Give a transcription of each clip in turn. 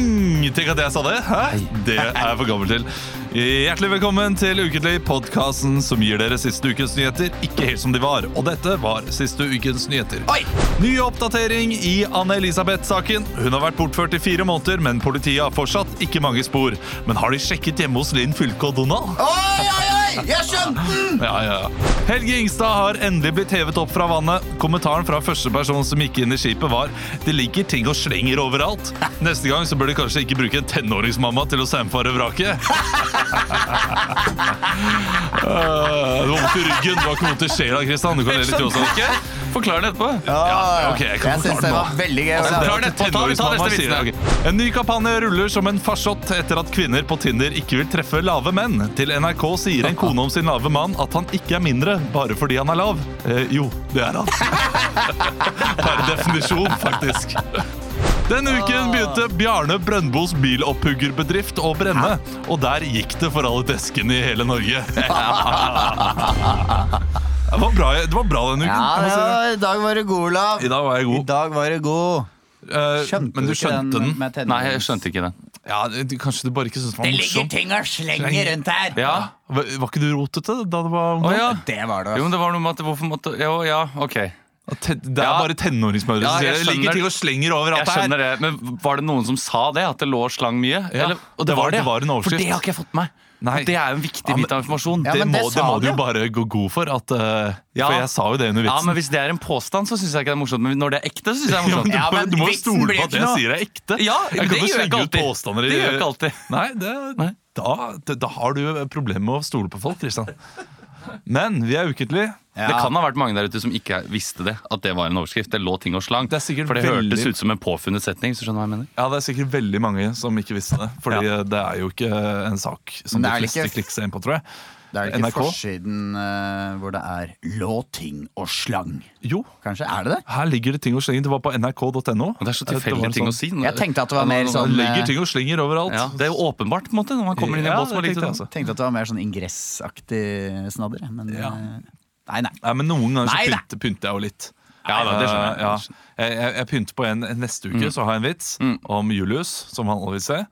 ikke at jeg sa det. Hæ? Det er jeg for gammel til. Hjertelig velkommen til Ukentlig, podkasten som gir dere siste ukens nyheter, ikke helt som de var. Og dette var siste ukens nyheter. Oi! Ny oppdatering i Anne-Elisabeth-saken. Hun har vært bortført i fire måneder, men politiet har fortsatt ikke mange spor. Men har de sjekket hjemme hos Linn Fylke og Donald? Oi, oi, oi! Jeg skjønte den! Ja, ja, ja. Helge Ingstad har endelig blitt hevet opp fra vannet. Kommentaren fra første person som gikk inn i skipet var Det ligger ting og slenger overalt. Neste gang så bør de kanskje ikke bruke en tenåringsmamma til å samfare vraket. Øh, Det var vondt i ryggen, det var ikke vondt i sjela, Kristian. Du kan le litt du også. Ikke? Forklar det etterpå. Ja, ok, jeg jeg kan syns forklare det den var nå. veldig gøy. Altså, Ja. drar det- ta- ta- ta Tenåringsmamma neste sier vitsen, det. En ny kampanje ruller som en farsott etter at kvinner på Tinder ikke vil treffe lave menn. Til NRK sier en kone om sin lave mann at han ikke er mindre bare fordi han er lav. Eh, jo, det er han. Per definisjon, faktisk. Denne uken begynte Bjarne Brøndbos bilopphuggerbedrift å brenne. Og der gikk det for alle deskene i hele Norge. Det var bra, det var bra denne uken. Ja, jeg må si det. ja, I dag var du god, Olav. I dag var jeg I god. dag var du god. Eh, men du ikke skjønte den? med tenårings- Nei, jeg skjønte ikke den. Ja, det- du- Kanskje du bare ikke syntes den var Det ligger morsom? ting og slenger rundt her. Ja. Var, var ikke du rotete da det var ungdom? Å, ja. Det var det. Jo, altså. men det var noe med at hvorfor måtte Jo, ja, ok. At te- Det er Ja. bare tenåringsmødre Ja, som sier det. jeg Det ligger skjønner- ting og slenger overalt Jeg her. skjønner det, men Var det noen som sa det? At det lå og slang mye? Ja, Eller- det var- det var en For overskrift. det har ikke jeg fått med meg. Nei. Og det er jo en viktig men- bit av informasjon. Ja, det, men må, det, det sa må de du jo. jo bare gå god for. At, eh, Ja. For jeg sa jo det under Ja, vitsen. men Hvis det er en påstand, så syns jeg ikke det er morsomt. Men når det er ekte, så syns jeg det er Ja, men du, morsomt. Ja, må- men du må vitsen stole blir på at det ikke jeg noe. sier er ekte. Ja, jeg det kan gjør jeg slenge ikke ut alltid. påstander i Det gjør jeg ikke alltid. Nei, det, Nei. Da, det, da har du problemer med å stole på folk, Kristian. Men vi er ukentlig. Ja. Det kan ha vært mange der ute som ikke visste det. At det var en overskrift. Det lå ting og slang. Det er sikkert for det veldig- hørtes ut som en påfunnet setning. Hvis du skjønner hva jeg mener Ja, Det er sikkert veldig mange som ikke visste det. Fordi det er jo ikke en sak som Men de det er fleste vel ikke- klikker seg inn på, tror jeg. Det er vel ikke NRK? forsiden eh, hvor det er 'lå ting og slang'. Jo, Kanskje er det det? her ligger det ting og slenger. Det var på nrk.no. Og Det er så Det var tilfeldige ting sånn- å si. Jeg tenkte at det var mer Ja, sånn Det eh, ligger ting og slenger overalt. ja, Det er jo åpenbart på en måte når man kommer inn i en Ja, båt. som har det ligget tenkte ute. jeg også. Tenkte at det var mer sånn ingressaktig snadder. Men Ja. eh, nei, nei. Nei, men Noen ganger så Nei da. pynter, pynter jeg jo litt. Ja, da, det skjønner jeg. Mm. Eh, ja. jeg, jeg, jeg pynter på en neste uke, så har jeg en vits om Julius, som han vil se.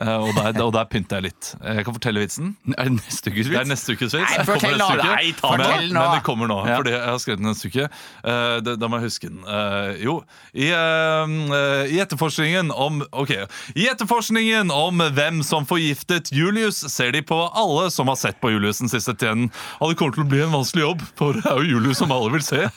Eh, og, der, og der pynter jeg litt. Eh, Jeg kan fortelle vitsen. Er det neste ukes Det er vits? neste ukes vits. Nei, Den kommer fortell neste nå. uke. Nei, ta men, fortell nå. men det kommer nå, Ja. fordi jeg har skrevet den neste uke. Eh, det, da må jeg huske den. Eh, jo, i, eh, i etterforskningen om Ok. I etterforskningen om hvem som forgiftet Julius, ser de på alle som har sett på Julius den siste tiden. Og det kommer til å bli en vanskelig jobb, for det er jo Julius som alle vil se.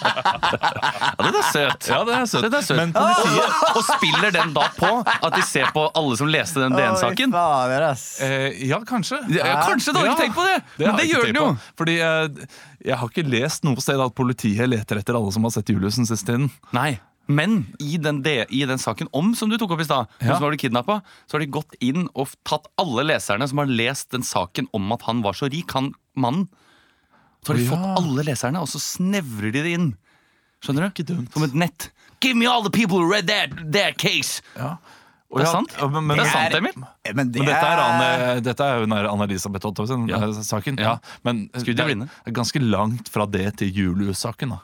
Ja, den er søt. Ja, det er søtt. Den er Ah! søt. Men politiet Og spiller den da på at de ser på alle som leste den DN-saken? Oi, fader, ass. eh, Ja, kanskje. Ja, kanskje du har Ja. ikke tenkt på det! Men har det jeg gjør ikke den jo. tenkt på. Fordi eh, jeg har ikke lest noe sted at politiet leter etter alle som har sett Julius den siste tiden. Nei, men i den, de, i den saken om som du tok opp i stad, Ja. ja. som ble kidnappa, så har de gått inn og f- tatt alle leserne som har lest den saken om at han var så rik, han mannen. Så har de Å, ja. fått alle leserne, og så snevrer de det inn. Skjønner du? Ikke dumt. Som et nett. Give me all the people who read that, that case! Ja. Og det Ja, er sant. ja, men- men- det Det er sant, er- Emil. Eh, Men, det Men dette er, Anne, dette er jo nær Anne-Elisabeth Ottosen, Ja. eh, saken. Ja. Men eh, Skudd i det er- blinde. det er ganske langt fra det til Julius-saken. da.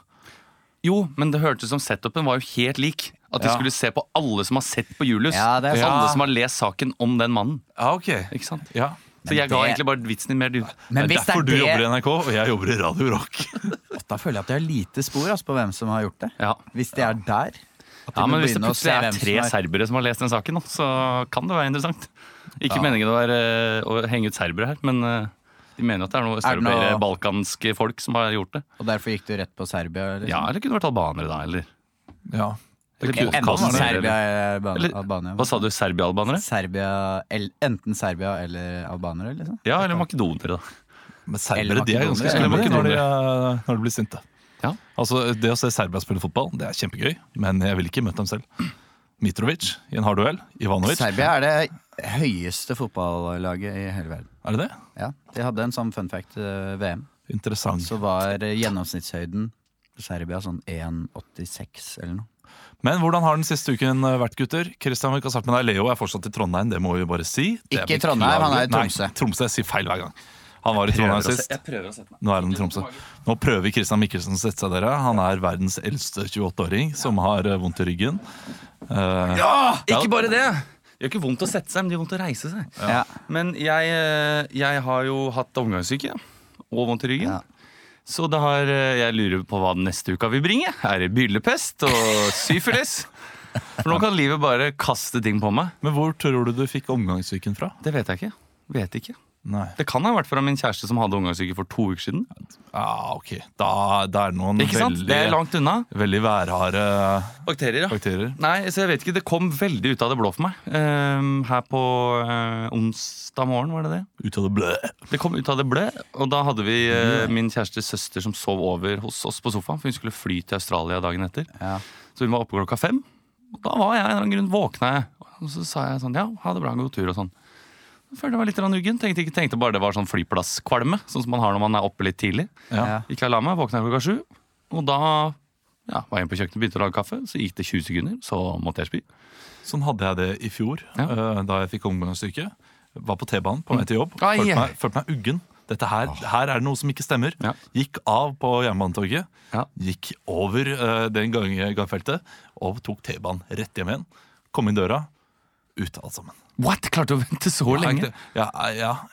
Jo, men det hørtes ut som setupen var jo helt lik. At de Ja. skulle se på alle som har sett på Julius. Ja, det er sant. Alle som har lest saken om den mannen. Ja, ok. Ikke sant? Ja. Så jeg ga det- egentlig bare vitsen din mer dyp. Men det er hvis det derfor er du det, jobber i NRK, og jeg jobber i Radio Rock. da føler jeg at jeg har lite spor ass, på hvem som har gjort det. Ja. Hvis det er der. at de Ja, må men Hvis det begynne å se plutselig er hvem som tre serbere som har lest den saken, nå, så kan det være interessant. Ikke meningen å, være, eh, å henge ut serbere her, men eh, de mener at det er noe Er det noe- serbere, balkanske folk som har gjort det. Og derfor gikk du rett på Serbia? Eller? Ja, Eller kunne vært albanere, da. Eller, Ja. eller kunne- Enten balkanere, Serbia eller- eller Alban- eller- Albania. Hva sa du? Serbia-albanere? Serbia, el, enten Serbia eller albanere, liksom. Ja, eller makedonere, da. Men Eller serbere de er ganske makedonere. slemme Eller når, de, eh, når de blir sinte. Ja. Altså, Det å se Serbia spille fotball det er kjempegøy, men jeg ville ikke møtt dem selv. Mitrovic i en hard duell. Ivanovic. Serbia er det høyeste fotballaget i hele verden. Er det det? Ja, De hadde en sånn fun fact eh, VM. Interessant. Så var eh, gjennomsnittshøyden på Serbia sånn 1,86 eller noe. Men hvordan har den siste uken eh, vært, gutter? Kristian, vi kan starte med deg. Leo er fortsatt i Trondheim, det må vi bare si. Det Ikke i Trondheim, han er i beklagelig. Tromsø. Nei, Tromsø, jeg sier feil hver gang. Han var i Trondheim sist. prøver å sette meg Nå er han i Tromsø. Nå prøver Kristian Mikkelsen å sette seg, dere. Han er verdens eldste 28-åring som har eh, vondt i ryggen. Eh, Ja! Ikke bare det! Det gjør ikke vondt å sette seg, men det gjør vondt å reise seg. Ja. Men jeg, eh, jeg har jo hatt omgangssyke og vondt i ryggen. Ja. Så det har, eh, jeg lurer på hva neste uka vil bringe. Er det byllepest og syfilis? For nå kan livet bare kaste ting på meg. Men hvor tror du du fikk omgangssyken fra? Det vet jeg ikke. Vet ikke. Nei. Det kan ha vært fra min kjæreste som hadde omgangssyke for to uker siden. Ah, ok. Da, det er noen Ikke sant? Det er veldig, langt unna. veldig værharde Bakterier, ja. bakterier. Nei, så jeg vet ikke. Det kom veldig ut av det blå for meg. Ehm, her på eh, onsdag morgen, var det det? Ut av det blø. Det kom ut av det blø, og da hadde vi eh, min kjærestes søster som sov over hos oss på sofaen, for hun skulle fly til Australia dagen etter. Ja. Så hun var oppe klokka fem. Og da var jeg, av en eller annen grunn våkna jeg, og så sa jeg sånn ja, ha det bra, god tur og sånn. Jeg følte jeg var litt grann uggen. Tenkte, ikke- tenkte bare det var sånn flyplasskvalme, sånn som man har når man er oppe litt tidlig. Ja. Gikk jeg og la meg, våkna klokka sju, og da ja, var jeg inne på kjøkkenet, begynte å lage kaffe. Så gikk det 20 sekunder, så måtte jeg spy. Sånn hadde jeg det i fjor, Ja. Mm. eh, da jeg fikk omgangssyke. Var på T-banen på vei til jobb. Ai. Følte meg, følte meg uggen. Dette her, her er det noe som ikke stemmer. Ja. Gikk av på jernbanetorget, Ja. gikk over uh, den gang- gangfeltet og tok T-banen rett hjem igjen. Kom inn døra, ut alt sammen. What? Klarte å vente så lenge? Ja, eh, ja.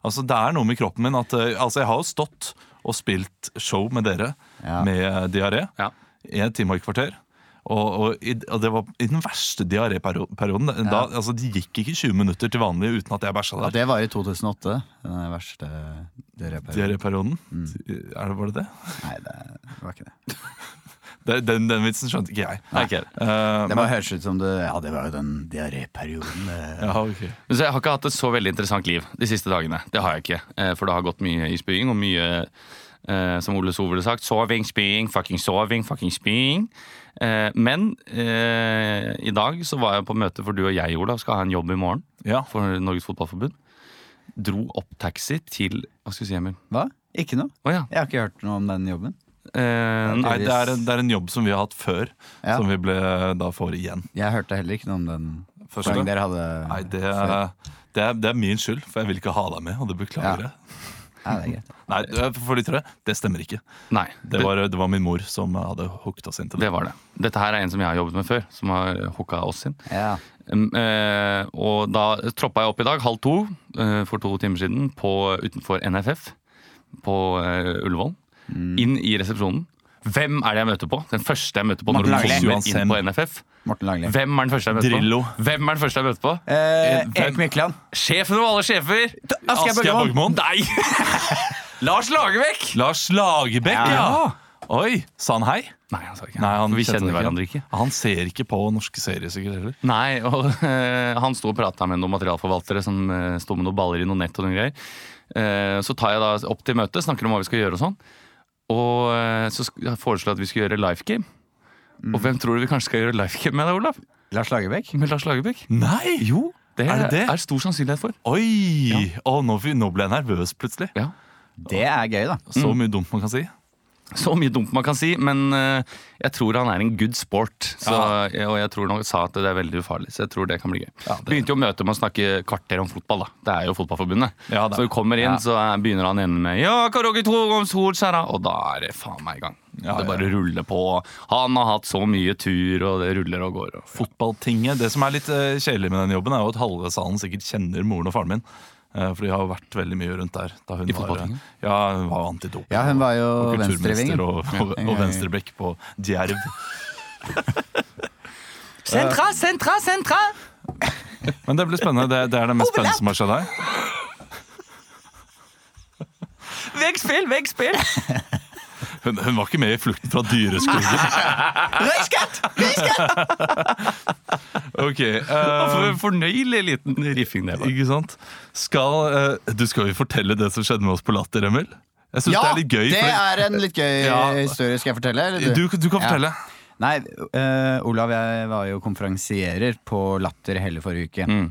Altså, det er noe med kroppen min at eh, altså, Jeg har jo stått og spilt show med dere Ja. med eh, diaré Ja. i en time og et kvarter. Og, og, i, og det var i den verste diaréperioden. Da, altså, det gikk ikke 20 minutter til vanlig uten at jeg bæsja Og der. det var i 2008, den verste diaréperioden. Diaréperioden? Er det, var det det? Nei, det var ikke det. det? Den, den vitsen skjønte ikke jeg. Nei, ikke jeg. Eh, Det bare høres ut som det Ja, det var jo den eh. diaréperioden. det- ja, ok. Men Så jeg har ikke hatt et så veldig interessant liv de siste dagene. Det har jeg ikke. Eh, For det har gått mye i spying, og mye, eh, som Ole Sove ville sagt, soving, spying, fucking soving, fucking spying. Eh, Men eh, i dag så var jeg på møte, for du og jeg, Olav, skal ha en jobb i morgen ja. for Norges Fotballforbund. Dro opp taxi til Hva skal vi si, Emil? Hva? Ikke noe? Å ja. Jeg har ikke hørt noe om den jobben. Eh, Nei, det er, en, det er en jobb som vi har hatt før, Ja. som vi ble, da får igjen. Jeg hørte heller ikke noe om den Første? poengen dere hadde. Nei, det, før. det, er, det er min skyld, for jeg vil ikke ha deg med, og det beklager jeg. Ja, det er greit. Nei, det- for lyttere, det stemmer ikke. Nei. Det var, det var min mor som hadde hooket oss inn til det. det var det. Dette her er en som jeg har jobbet med før, som har hooka oss inn. Ja. Um, eh, og da troppa jeg opp i dag, halv to eh, for to timer siden, på, utenfor NFF på eh, Ullevål. Mm. Inn i resepsjonen. Hvem er det jeg møter på? Den første jeg møter på når du Martin Langli. kommer Johan inn på NFF. Morten Langli. Hvem er den første jeg møter Drillo. på? Hvem er den første jeg møter på? Eh, Hvem- Erik Mykland. Sjefen av alle sjefer! Asgeir Borgermoen. Nei! Lars Lagerbäck! Lars Lagerbäck, ja. Oi, sa han hei? Nei, han sa ikke Nei, han Vi kjente kjenner det hverandre ikke. Han ser ikke på norske serier sikkert heller. Nei, og eh, han sto og prata med noen materialforvaltere som uh, sto med noen baller i noen nett og noen greier. Eh, så tar jeg da opp til møtet, snakker om hva vi skal gjøre og sånn. Og eh, så sk- jeg foreslår at vi skal gjøre life game. Mm. Og hvem tror du vi kanskje skal gjøre life game med deg, Olav? Lars Lagerbäck. Med Lars Lagerbäck? Nei! Jo, Det Er det det? er stor sannsynlighet for. Oi! Å, nå, fy- nå ble jeg nervøs plutselig. Ja. Det er gøy, da. Så Mm. mye dumt man kan si. Så mye dumt man kan si, men eh, jeg tror han er en good sport. Så, eh, Og jeg tror han sa at det er veldig ufarlig, så jeg tror det kan bli gøy. Begynte jo møtet med å snakke kvarter om fotball, da. Det er jo Fotballforbundet. Ja, det er så du kommer inn, så eh, begynner han ene med Ja, karaoke to om sol, skjæra. Og da er det faen meg i gang. Ja, det ja. bare ruller på. Han har hatt så mye tur, og det ruller og går. Og, Fotballtinget. Det som er litt eh, kjedelig med den jobben, er jo at halve salen sikkert kjenner moren og faren min. Eh, For de har jo vært veldig mye rundt der. Da hun var, I eh, fotballtinget? ja, hun var antidop. Ja, hun var jo og kulturminister venstrevingen. og, og, Ja. og venstrebekk på Djerv. sentra, sentra, sentra! Men det blir spennende. Det, det er det mest spennende som har skjedd her. Veggspill, veggspill! Hun, hun var ikke med i 'Flukten fra dyreskogen'. Røyskatt! Ok, eh, For en fornøyelig liten riffing det var. Ikke sant? Skal, eh, du skal jo fortelle det som skjedde med oss på Latter, Emil. Jeg synes Ja, det er litt gøy. det fordi- er en litt gøy Ja. historie. Skal jeg fortelle? eller du, du kan Ja. fortelle. Nei, eh, Olav, jeg var jo konferansierer på Latter hele forrige uke. Mm.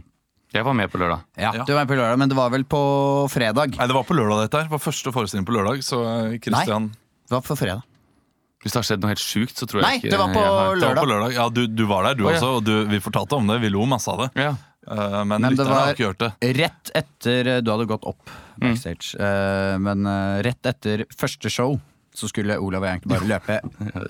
Jeg var med på lørdag. Ja, Ja. Du var med på lørdag, men det var vel på fredag? Nei, Det var på lørdag, dette her. Det var første forestilling på lørdag. Så eh, Christian Det var på fredag. Hvis det har skjedd noe helt sjukt, så tror Nei, jeg ikke det var på jeg har- Det var lørdag. på lørdag. Ja, du, du var der, du Å, ja. også. Og du, vi fortalte om det. Vi lo masse av det. Ja. Eh, men Nei, men det lytterne har var- ikke hørt det. Rett etter Du hadde gått opp backstage, eh, men eh, rett etter eh, første show så skulle Olav og jeg egentlig bare løpe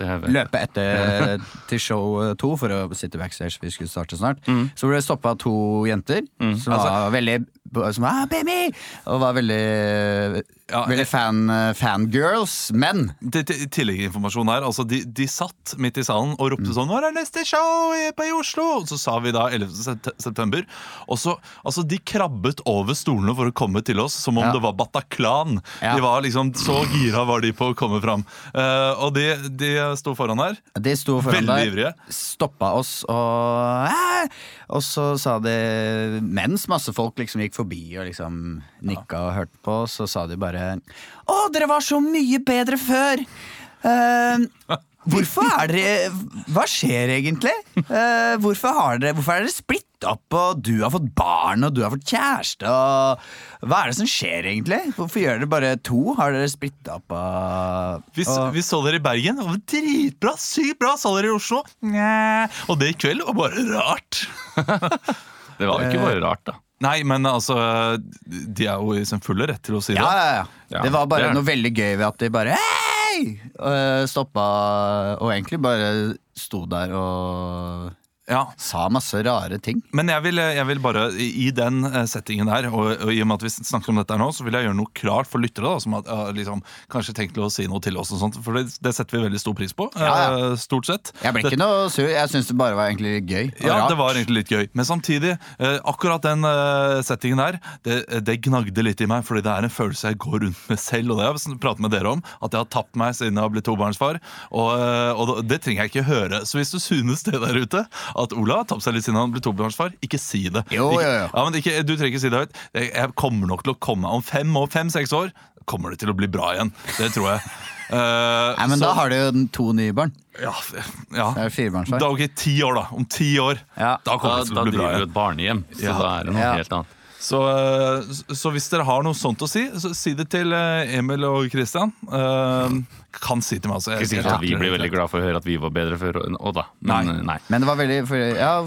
Jeg vet. løpe etter eh, til show to for å sitte backstage. Vi skulle starte snart. Så ble det stoppa av to jenter som var veldig som var, ah, baby! Og var veldig, Ja, veldig fan, eh, fangirls. Men Til- til- Tilleggsinformasjon her. Altså, de, de satt midt i salen og Mm. ropte sånn 'Når er neste show i- på i Oslo?' Så sa vi da 11. sept- september. Og så, altså, De krabbet over stolene for å komme til oss som om Ja. det var Bataclan. Ja. De var liksom, Så gira var de på å komme fram. Eh, og de, de sto foran her. de sto foran Veldig ivrige. der, stoppa oss og «Ah!» Og så sa de, mens masse folk liksom gikk forbi og liksom nikka og hørte på, så sa de bare Å, dere var så mye bedre før! Eh, hvorfor er dere Hva skjer egentlig? Eh, hvorfor, har dere, hvorfor er dere splitt opp, og du har fått barn, og du har fått kjæreste, og Hva er det som skjer egentlig? Hvorfor gjør dere bare to? Har dere splitt opp og Vi, s- og- vi så dere i Bergen. Det var dritbra! Sykt bra! Så dere i Oslo. Nja. Og det i kveld var bare rart. Det var jo ikke bare rart, da. Nei, men altså De er jo i sin fulle rett til å si Ja, det. ja, ja. Ja, Det var det bare er det. noe veldig gøy ved at de bare Hei! øh, Stoppa og egentlig bare sto der og Ja. sa masse rare ting. Men jeg vil, jeg vil bare, i i den eh, settingen her, og, og i og med at vi snakker om dette her nå, så vil jeg gjøre noe klart for lyttere, da, som har eh, liksom, kanskje tenkt til å si noe til oss og sånt, for det, det setter vi veldig stor pris på, eh, Ja, stort sett. Jeg ble ikke noe sur. Jeg syns det bare var egentlig gøy. Og Ja, rart. det var egentlig litt gøy. Men samtidig, eh, akkurat den eh, settingen der, det, det gnagde litt i meg, fordi det er en følelse jeg går rundt med selv, og det har jeg sn- pratet med dere om, at jeg har tapt meg siden jeg har blitt tobarnsfar, og, eh, og det- det trenger jeg ikke høre. Så hvis du synes det der ute, at Ola har tapt seg litt siden han ble tobarnsfar, ikke si det. Jo, ikke, jo, jo. Ja, men ikke, du trenger ikke si det høyt. Jeg, jeg kommer nok til å komme om fem og fem-seks år, kommer det til å bli bra igjen. Det tror jeg. Eh, Nei, men så- da har du jo den to nye barn. ja, ja. Det er jo firebarnsfar. Da, ok, ti år, da. Om ti år. Ja. Da kommer Da, det til da å bli bra driver du igjen. et barnehjem, så Ja. da er det noe Ja. helt annet. Så, eh, s- så hvis dere har noe sånt å si, så si det til eh, Emil og Christian. Eh, kan si til meg, altså. Jeg- Ikke sikkert jeg- at vi blir veldig glad for å høre at vi var bedre før enn Odda, men Nei. eh, nei. Men det var veldig for, Ja,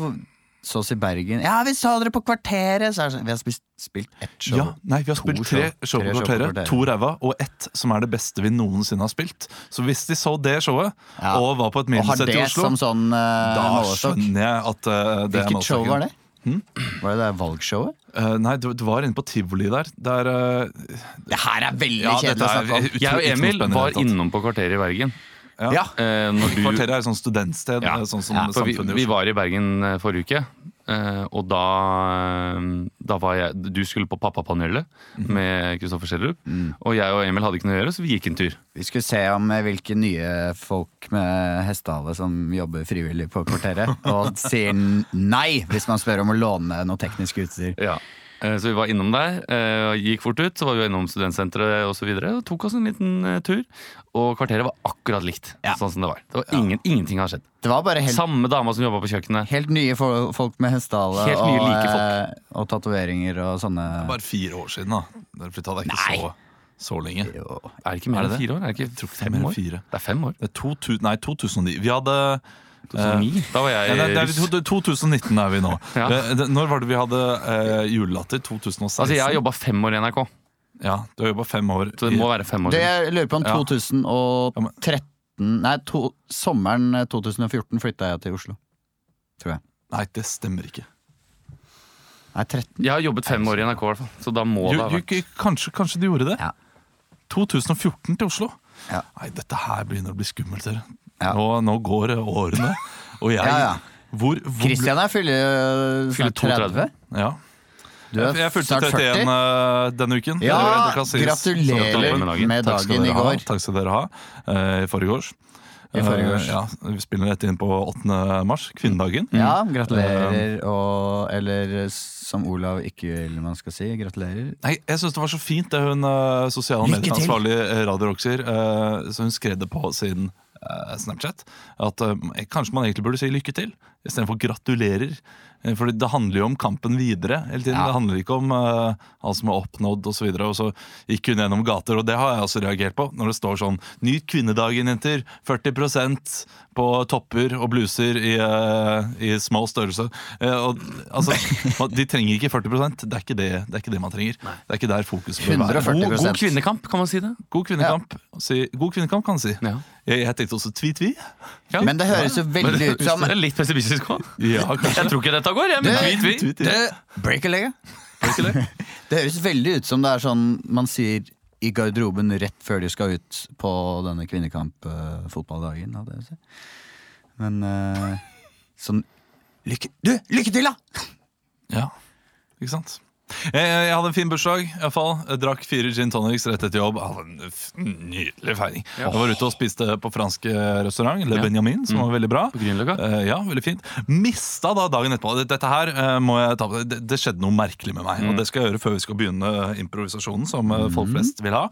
så oss i Bergen. Ja, vi så dere på Kvarteret! Så er det sånn, vi har spilt, spilt ett show. Ja, nei, Vi har To spilt tre show show. på Tre show på kvarteret. kvarteret. To ræva og ett som er det beste vi noensinne har spilt. Så hvis de så det showet Ja. og var på et og har minisett i det Oslo, som sånn øh, da målestokk. skjønner jeg Hm? at eh, det er Hvilket show målsettingen. var det? Var det det valgshowet? Eh, nei, det det var inne på tivoli der. Der eh, Det her er veldig Ja, dette kjedelig å er snakke om. utrolig- Jeg og ikke noe Emil spennende i det hele var tatt. innom på Kvarteret i Bergen. Ja. Eh, når du, Kvarteret er et sånt studentsted. Ja. eh, Sånn som Ja, for vi, samfunnet i vi Oslo. var i Bergen eh, forrige uke, eh, og da, eh, da var jeg Du skulle på Pappapanelet Mhm. med Kristoffer Schjelderup, Mm. og jeg og Emil hadde ikke noe å gjøre, så vi gikk en tur. Vi skulle se om eh, hvilke nye folk med hestehale som jobber frivillig på kvarteret, og sier nei hvis man spør om å låne noe teknisk utstyr. Eh, Så vi var innom der, eh, og gikk fort ut, så var vi innom studentsenteret osv. Og, så videre, og tok oss en liten eh, tur. Og kvarteret var akkurat likt Ja. sånn som det var. Det var ingen, Ingenting har skjedd. Det var bare helt, Samme dama som jobba på kjøkkenet. helt nye fo- folk med hestehale Helt nye og, like eh, og tatoveringer og sånne Bare fire år siden, da. Derfor tar det ikke Nei. så, så lenge. jo. Er det ikke mer Er det enn det? fire år? Er det Jeg ikke tror ikke det er fem mer enn år? fire. Det er fem år. Det er 2000, nei, 2009. Vi hadde eh, 2009. Da var ja, jeg nei, det er, russ. to- 2019 er vi nå. Ja. Eh, det- Når var det vi hadde eh, julelatter? 2016? Altså, jeg har jobba fem år i NRK, ja, du har jobba fem år. så det må være fem år. Det siden. jeg lurer på om Ja. 2013 Nei, to, sommeren eh, 2014 flytta jeg til Oslo. Tror jeg. Nei, det stemmer ikke. Nei, 13. Jeg har jobbet fem år i NRK, i hvert fall. Så da må Jo, det ha jo, vært ikke- kanskje, kanskje du gjorde det? Ja. 2014 til Oslo? Ja. Nei, dette her begynner å bli skummelt, dere. Ja. Nå, nå går eh, årene, og jeg Ja, ja. Hvor, hvor ble- Christian er fyller øh, Fyller snart 30. 32. Ja. Du Jeg, jeg er fylte snart 40. 31 eh, denne uken. Ja, Det- det kan sies. gratulerer Gratulerer med med Takk skal dagen i dere ha. går. Takk skal dere ha. eh, I forgårs. I forgårs. Mm. Eh, ja, vi spiller dette inn på 8. mars, kvinnedagen. Ja, gratulerer og Eller som Olav ikke vil man skal si, gratulerer. Nei, jeg syns det var så fint det hun eh, sosiale Lykke til. medieansvarlig eh, Radio Roxer eh, Så hun skrev det på sin eh, Snapchat. At eh, kanskje man egentlig burde si lykke til istedenfor gratulerer. Eh, For det handler jo om kampen videre hele tiden. Ja. Det handler ikke om eh, alt som er oppnådd osv. Og så gikk hun gjennom gater, og det har jeg også reagert på. Når det står sånn 'Nyt kvinnedagen, jenter'. 40 på topper og bluser i, eh, i små størrelse. Eh, og, altså, man- de trenger ikke 40 det er ikke det, det er ikke det man trenger. Det er ikke der fokuset bør være. 140 God, god kvinnekamp, kan man si det? God kvinnekamp, si, god kvinnekamp kan si. Ja. Jeg, jeg tenkte også tvi-tvi. Ja. Men det høres jo veldig ut som Det er litt pessimistisk òg. Ja, kanskje. Jeg tror ikke dette går, jeg. Men Det- vi, vi. Tvi-tvi. Du, Breaker-lege. Ikke det? Det høres veldig ut som det er sånn man sier i garderoben rett før de skal ut på denne kvinnekampfotballdagen. Men eh, sånn lykke, Du, lykke til, da! Ja, ikke sant? Jeg, jeg, jeg hadde en fin bursdag, i hvert fall. Jeg drakk fire gin tonics rett etter jobb. Hadde en f- nydelig feiring. Jeg var ute og spiste på fransk eh, restaurant, Le Ja. Mm. Benjamin, som var veldig bra. På Grünerløkka? Eh, ja, veldig fint. Mista da dagen etterpå. Det- Dette her eh, må jeg ta på. Det, det skjedde noe merkelig med Mm. meg, og det skal jeg gjøre før vi skal begynne improvisasjonen, som eh, folk flest vil ha.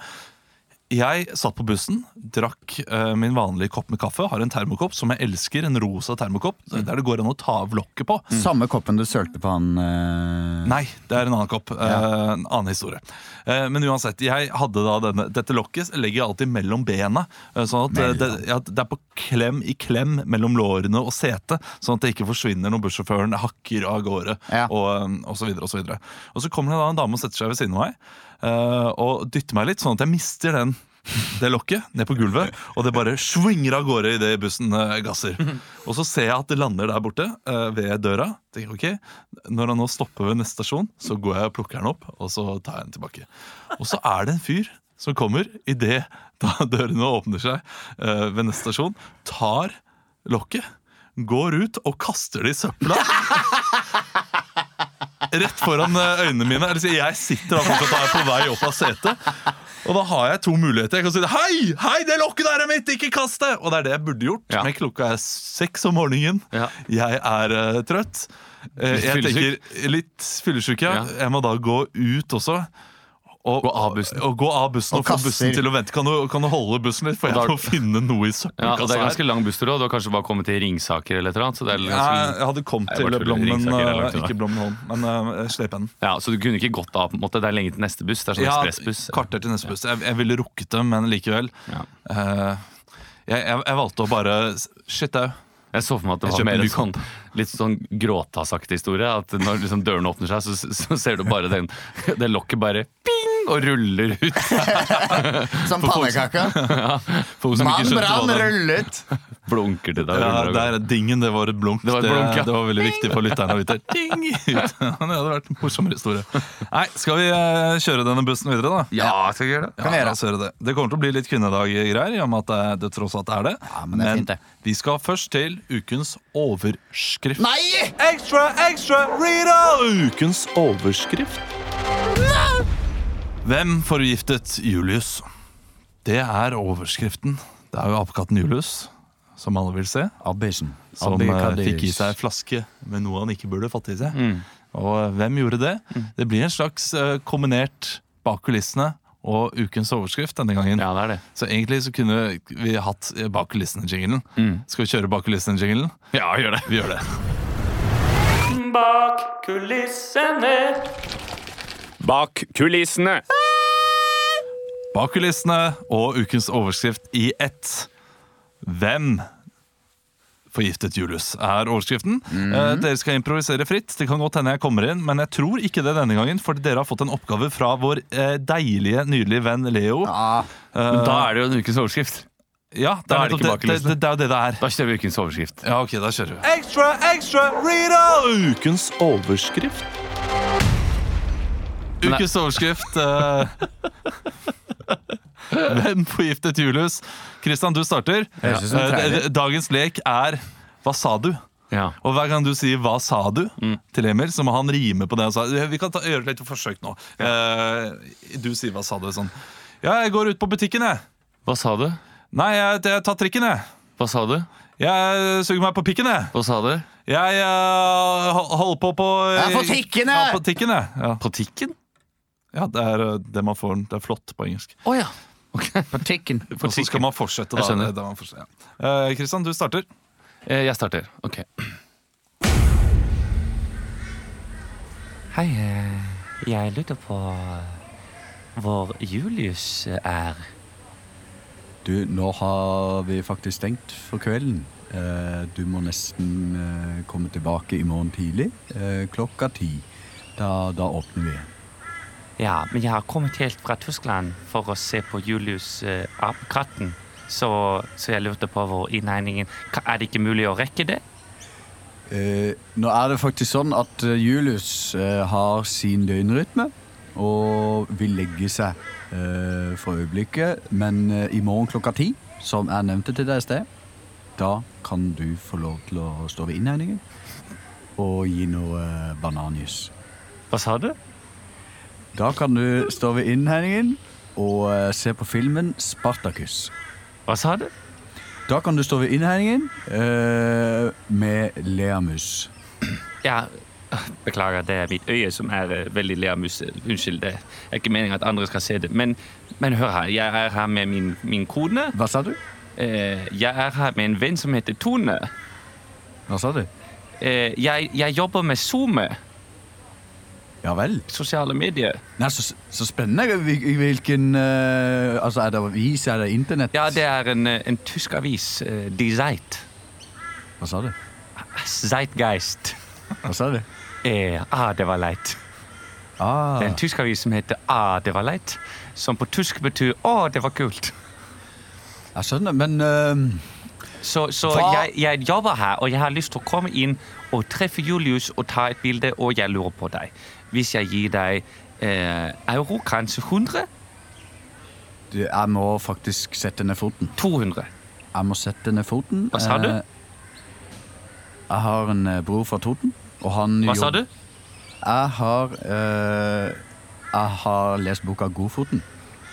Jeg satt på bussen, drakk eh, min vanlige kopp med kaffe. Har en termokopp som jeg elsker, en rosa termokopp Mm. der det går an å ta av lokket på. Samme koppen du sølte på han eh, Nei, det er en annen kopp. Eh, en annen historie. Eh, men uansett, jeg hadde da denne, dette lokket legger jeg alltid mellom bena. eh, Sånn at eh, det, ja, det er på klem i klem mellom lårene og setet, sånn at det ikke forsvinner når bussjåføren hakker av gårde. Ja. Og, eh, og så videre og så videre. Og så kommer det da en dame og setter seg ved siden av meg eh, og dytter meg litt, sånn at jeg mister den. Det lokket ned på gulvet, og det bare svinger av gårde idet bussen eh, gasser. Og så ser jeg at det lander der borte, eh, ved døra. Tenker, ok, Når han nå stopper ved neste stasjon, så går jeg og plukker den opp, og så tar jeg den tilbake. Og så er det en fyr som kommer idet dørene åpner seg eh, ved neste stasjon, tar lokket, går ut og kaster det i søpla. Rett foran eh, øynene mine. Eller si, jeg sitter da fortsatt og er på vei opp av setet. Og da har jeg to muligheter. Jeg kan si det, Hei, hei, det lokket der er mitt! Ikke kast det! Og det er det jeg burde gjort. Ja. Men klokka er seks om morgenen. Ja. Jeg er eh, trøtt. Eh, Litt jeg fyllesyk. tenker litt fyllesyk, ja. Ja. Jeg må da gå ut også. Og, Gå av bussen. Og, gå av bussen og, Og få kaster. bussen til å vente. Kan du, kan du holde bussen litt, for Og jeg da- må finne noe i Ja, og søppelkassa det er ganske her. lang busstur òg. Du har kanskje bare kommet til Ringsaker eller et eller annet. Så, det er liksom- Jeg, ganske, jeg hadde kommet Nei, til bare tuller. Blommen, Ringsaker er langt eh, unna. ikke Blommenholm, men eh, Slepen. ja, så du kunne ikke gått av, på en måte. Det er lenge til neste buss. Det er sånn Ja, ekspressbuss. kvarter til neste buss. Jeg, jeg ville rukket dem, men likevel. Ja. Eh, jeg, jeg, jeg valgte å bare Shit au. Jeg så for meg at det Jeg var kjøper mer ny en sånn, litt sånn gråtassaktig historie. At når liksom dørene åpner seg, så, så ser du bare den, det lokket bare ping, og ruller ut. som pannekaka. For hun som ikke Mann skjønte brann hva det- rullet! Blunker til deg. og Ja, ruller og der går. er dingen, det var et blunk. Det var et blunk, ja. det, var veldig viktig for lytterne. å vite. Ding! det hadde vært en morsommere historie. Nei, skal vi eh, kjøre denne bussen videre, da? Ja, skal jeg gjøre det? vi gjøre. la oss gjøre det. det kommer til å bli litt kvinnedag-greier, i og med at det, det tross alt er det. Ja, men det er fint, det. vi skal først til ukens overskrift. Nei! Ekstra, ekstra, Rita! Ukens overskrift. Hvem forgiftet Julius? Det er overskriften. Det er jo apekatten Julius, som alle vil se. Abbisen. Som eh, fikk i seg en flaske med noe han ikke burde fått i seg. Mm. Og eh, hvem gjorde det? Det blir en slags eh, kombinert bak kulissene og ukens overskrift denne gangen. Ja, det er det. Så egentlig så kunne vi hatt eh, bak kulissene-jinglen. Skal vi kjøre bak kulissene-jinglen? Mm. Ja, gjør det. Vi gjør det. Bak kulissene. Bak kulissene. Bak kulissene og ukens overskrift i ett. Hvem forgiftet Julius, er overskriften. Mhm. Eh, Dere skal improvisere fritt. Det kan godt hende jeg kommer inn, men jeg tror ikke det denne gangen, for dere har fått en oppgave fra vår eh, deilige, nydelige venn Leo. Ja, Ja, Men da er det jo en ukens overskrift. det, da er er det ikke nettopp bak det, det, kulissene. det, det er jo det det er. Da kjører vi ukens overskrift. Ja, ok, da kjører vi. Ekstra, ekstra, Rita! Ukens overskrift. Men det- Ukens overskrift eh, Hvem forgiftet Julius? Kristian, du starter. Høres ut som en Eh, trailer. d- d- Dagens lek er Hva sa du? Ja. Og hver gang du sier 'hva sa du' Mm. til Emil, så må han rime på det han sa. Eh, Vi kan ta, gjøre et lite forsøk nå. Eh, du sier 'hva sa du' sånn. Ja, jeg går ut på butikken, jeg. Hva sa du? Nei, jeg, jeg tar trikken, jeg. Hva sa du? Jeg suger meg på pikken, jeg. Hva sa du? Jeg eh, hol- holder på eh, på Jeg er på tikken, jeg. Ja, på tikken, jeg. Ja. På tikken? ja, det er eh, det man får. Det er flott på engelsk. Å ja. På tikken. Og så skal man fortsette. Jeg skjønner. da, da man fortsetter, ja. Eh, Kristian, du starter. Eh, Jeg starter. Ok. Hei, eh, jeg lurer på eh, hvor Julius eh, er. Du, nå har vi faktisk stengt for kvelden. Eh, Du må nesten eh, komme tilbake i morgen tidlig, eh, klokka ti. Da, da åpner vi igjen. Ja, men jeg har kommet helt fra Tyskland for å se på Julius eh, apekatten. Så, så jeg lurte på hvor innegningen Ka- Er det ikke mulig å rekke det? Eh, nå er det faktisk sånn at eh, Julius eh, har sin døgnrytme og vil legge seg eh, for øyeblikket. Men eh, i morgen klokka ti, som jeg nevnte til deg i sted, da kan du få lov til å stå ved innhegningen og gi noe eh, bananjus. Hva sa du? Da kan du stå ved innhegningen og eh, se på filmen Spartacus. Hva sa du? Da kan du stå ved innhegningen eh, med Leamus. Ja, Beklager, det er mitt øye som er eh, veldig lermus. Unnskyld, det er ikke meningen at andre skal se det. Men, men hør her, jeg er her med min, min kone. Hva sa du? Eh, Jeg er her med en venn som heter Tone. Hva sa du? Eh, Jeg, jeg jobber med SoMe, Ja vel. sosiale medier. Nei, så, så spennende. Hvil- Hvilken eh, Altså, er det avis? Er det internett? Ja, det er en, eh, en tysk avis, eh, Die Zeit. Hva sa du? Zeitgeist. Hva sa du? Eh, ah, det var leit. Ah, Det er en tysk avis som heter Ah, det var leit, som på tysk betyr Å, det var kult. jeg skjønner, men eh, Så, så Hva? jeg, jeg jobber her, og jeg har lyst til å komme inn og treffe Julius og ta et bilde, og jeg lurer på deg. Hvis jeg gir deg eh, euro, kanskje 100? du, jeg må faktisk sette ned foten. 200. Jeg må sette ned foten. Hva sa du? Eh, Jeg har en eh, bror fra Toten, og han Hva sa jobb- du? Jeg har eh, Jeg har lest boka Godfoten.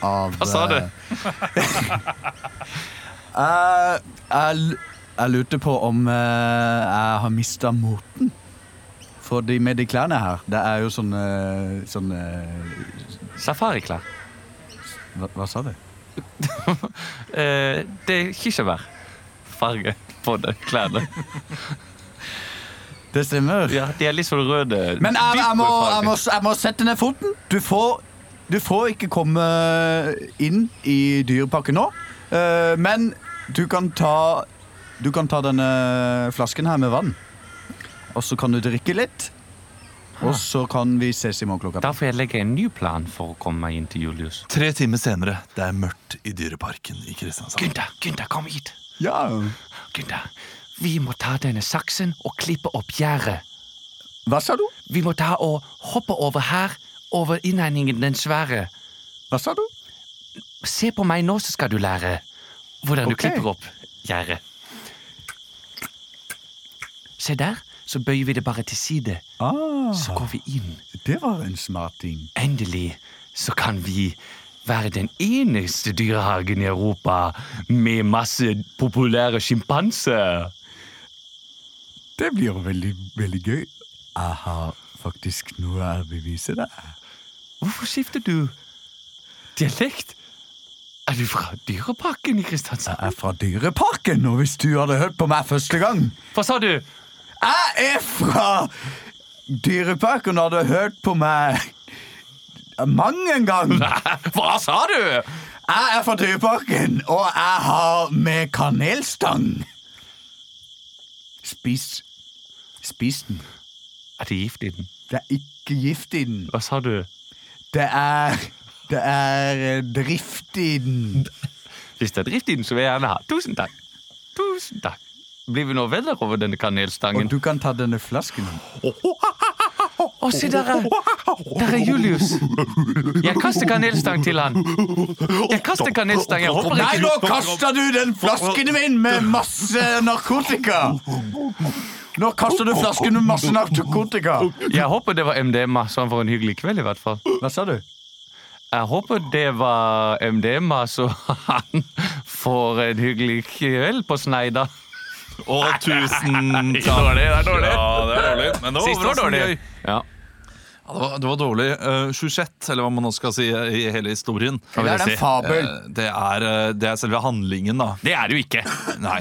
Av, Hva sa du? eh, jeg, jeg, l- jeg lurte på om eh, jeg har mista moten. For de, med de klærne her, det er jo sånne, sånne Safariklær. hva, hva sa du? Eh, det er kirsebær. Farge på det, klærne. Det stemmer. Ja, de er litt sånn røde. Men jeg, jeg, må, dyprød farge. jeg, må, jeg må sette ned foten. Du får, du får ikke komme inn i dyreparken nå. Eh, men du kan ta Du kan ta denne flasken her med vann. Og så kan du drikke litt. Og så kan vi ses i morgen klokka da får jeg legge en ny plan for å komme meg inn til Julius. Tre timer senere, det er mørkt i Dyreparken i Kristiansand. Gunther, Gunther, kom hit. Ja. Gunther, vi må ta denne saksen og klippe opp gjerdet. Hva sa du? Vi må ta og hoppe over her, over innhegningen den svære. Hva sa du? Se på meg nå, så skal du lære hvordan du Ok. klipper opp gjerdet. Se der, så bøyer vi det bare til side. Ah, Så går vi inn. det var en smart ting. Endelig så kan vi være den eneste dyrehagen i Europa med masse populære sjimpanser. Det blir jo veldig, veldig gøy. Jeg har faktisk noe å bevise deg. Hvorfor skifter du dialekt? Er du fra Dyreparken i Kristiansand? Jeg er fra Dyreparken, og hvis du hadde hørt på meg første gang Hva sa du? Jeg er fra Dyreparken, og du hadde hørt på meg mang en gang. Hva sa du? Jeg er fra Dyreparken, og jeg har med kanelstang. Spis Spis den. Er det gift i den? Det er ikke gift i den. Hva sa du? Det er Det er eh, drift i den. Hvis det er drift i den, så vil jeg gjerne ha. Tusen takk. Tusen takk. Blir vi nå venner over denne Og kanelstangen? du kan ta denne flasken. Å, se der er Der er Julius. Jeg kaster kanelstang til han. Jeg kaster kanelstang. Jeg håper Nei, ikke nå kaster du den flasken min med masse narkotika! Nå kaster du flasken med masse narkotika. Jeg håper det var MDMA, sånn for en hyggelig kveld i hvert fall. Hva sa du? Jeg håper det var MDMA, så altså. han får en hyggelig kveld på Sneida. Å, tusen takk. Dårlig, det er dårlig. Ja, det er dårlig. Men det var Sist var overraskende dårlig. gøy. Ja. Ja, det, var, det var dårlig. Uh, Sjusjett, eller hva man nå skal si eh, i hele historien. Eller er det en fabel? Eh, det, er, eh, det er selve handlingen, da. Det er det jo ikke. Nei.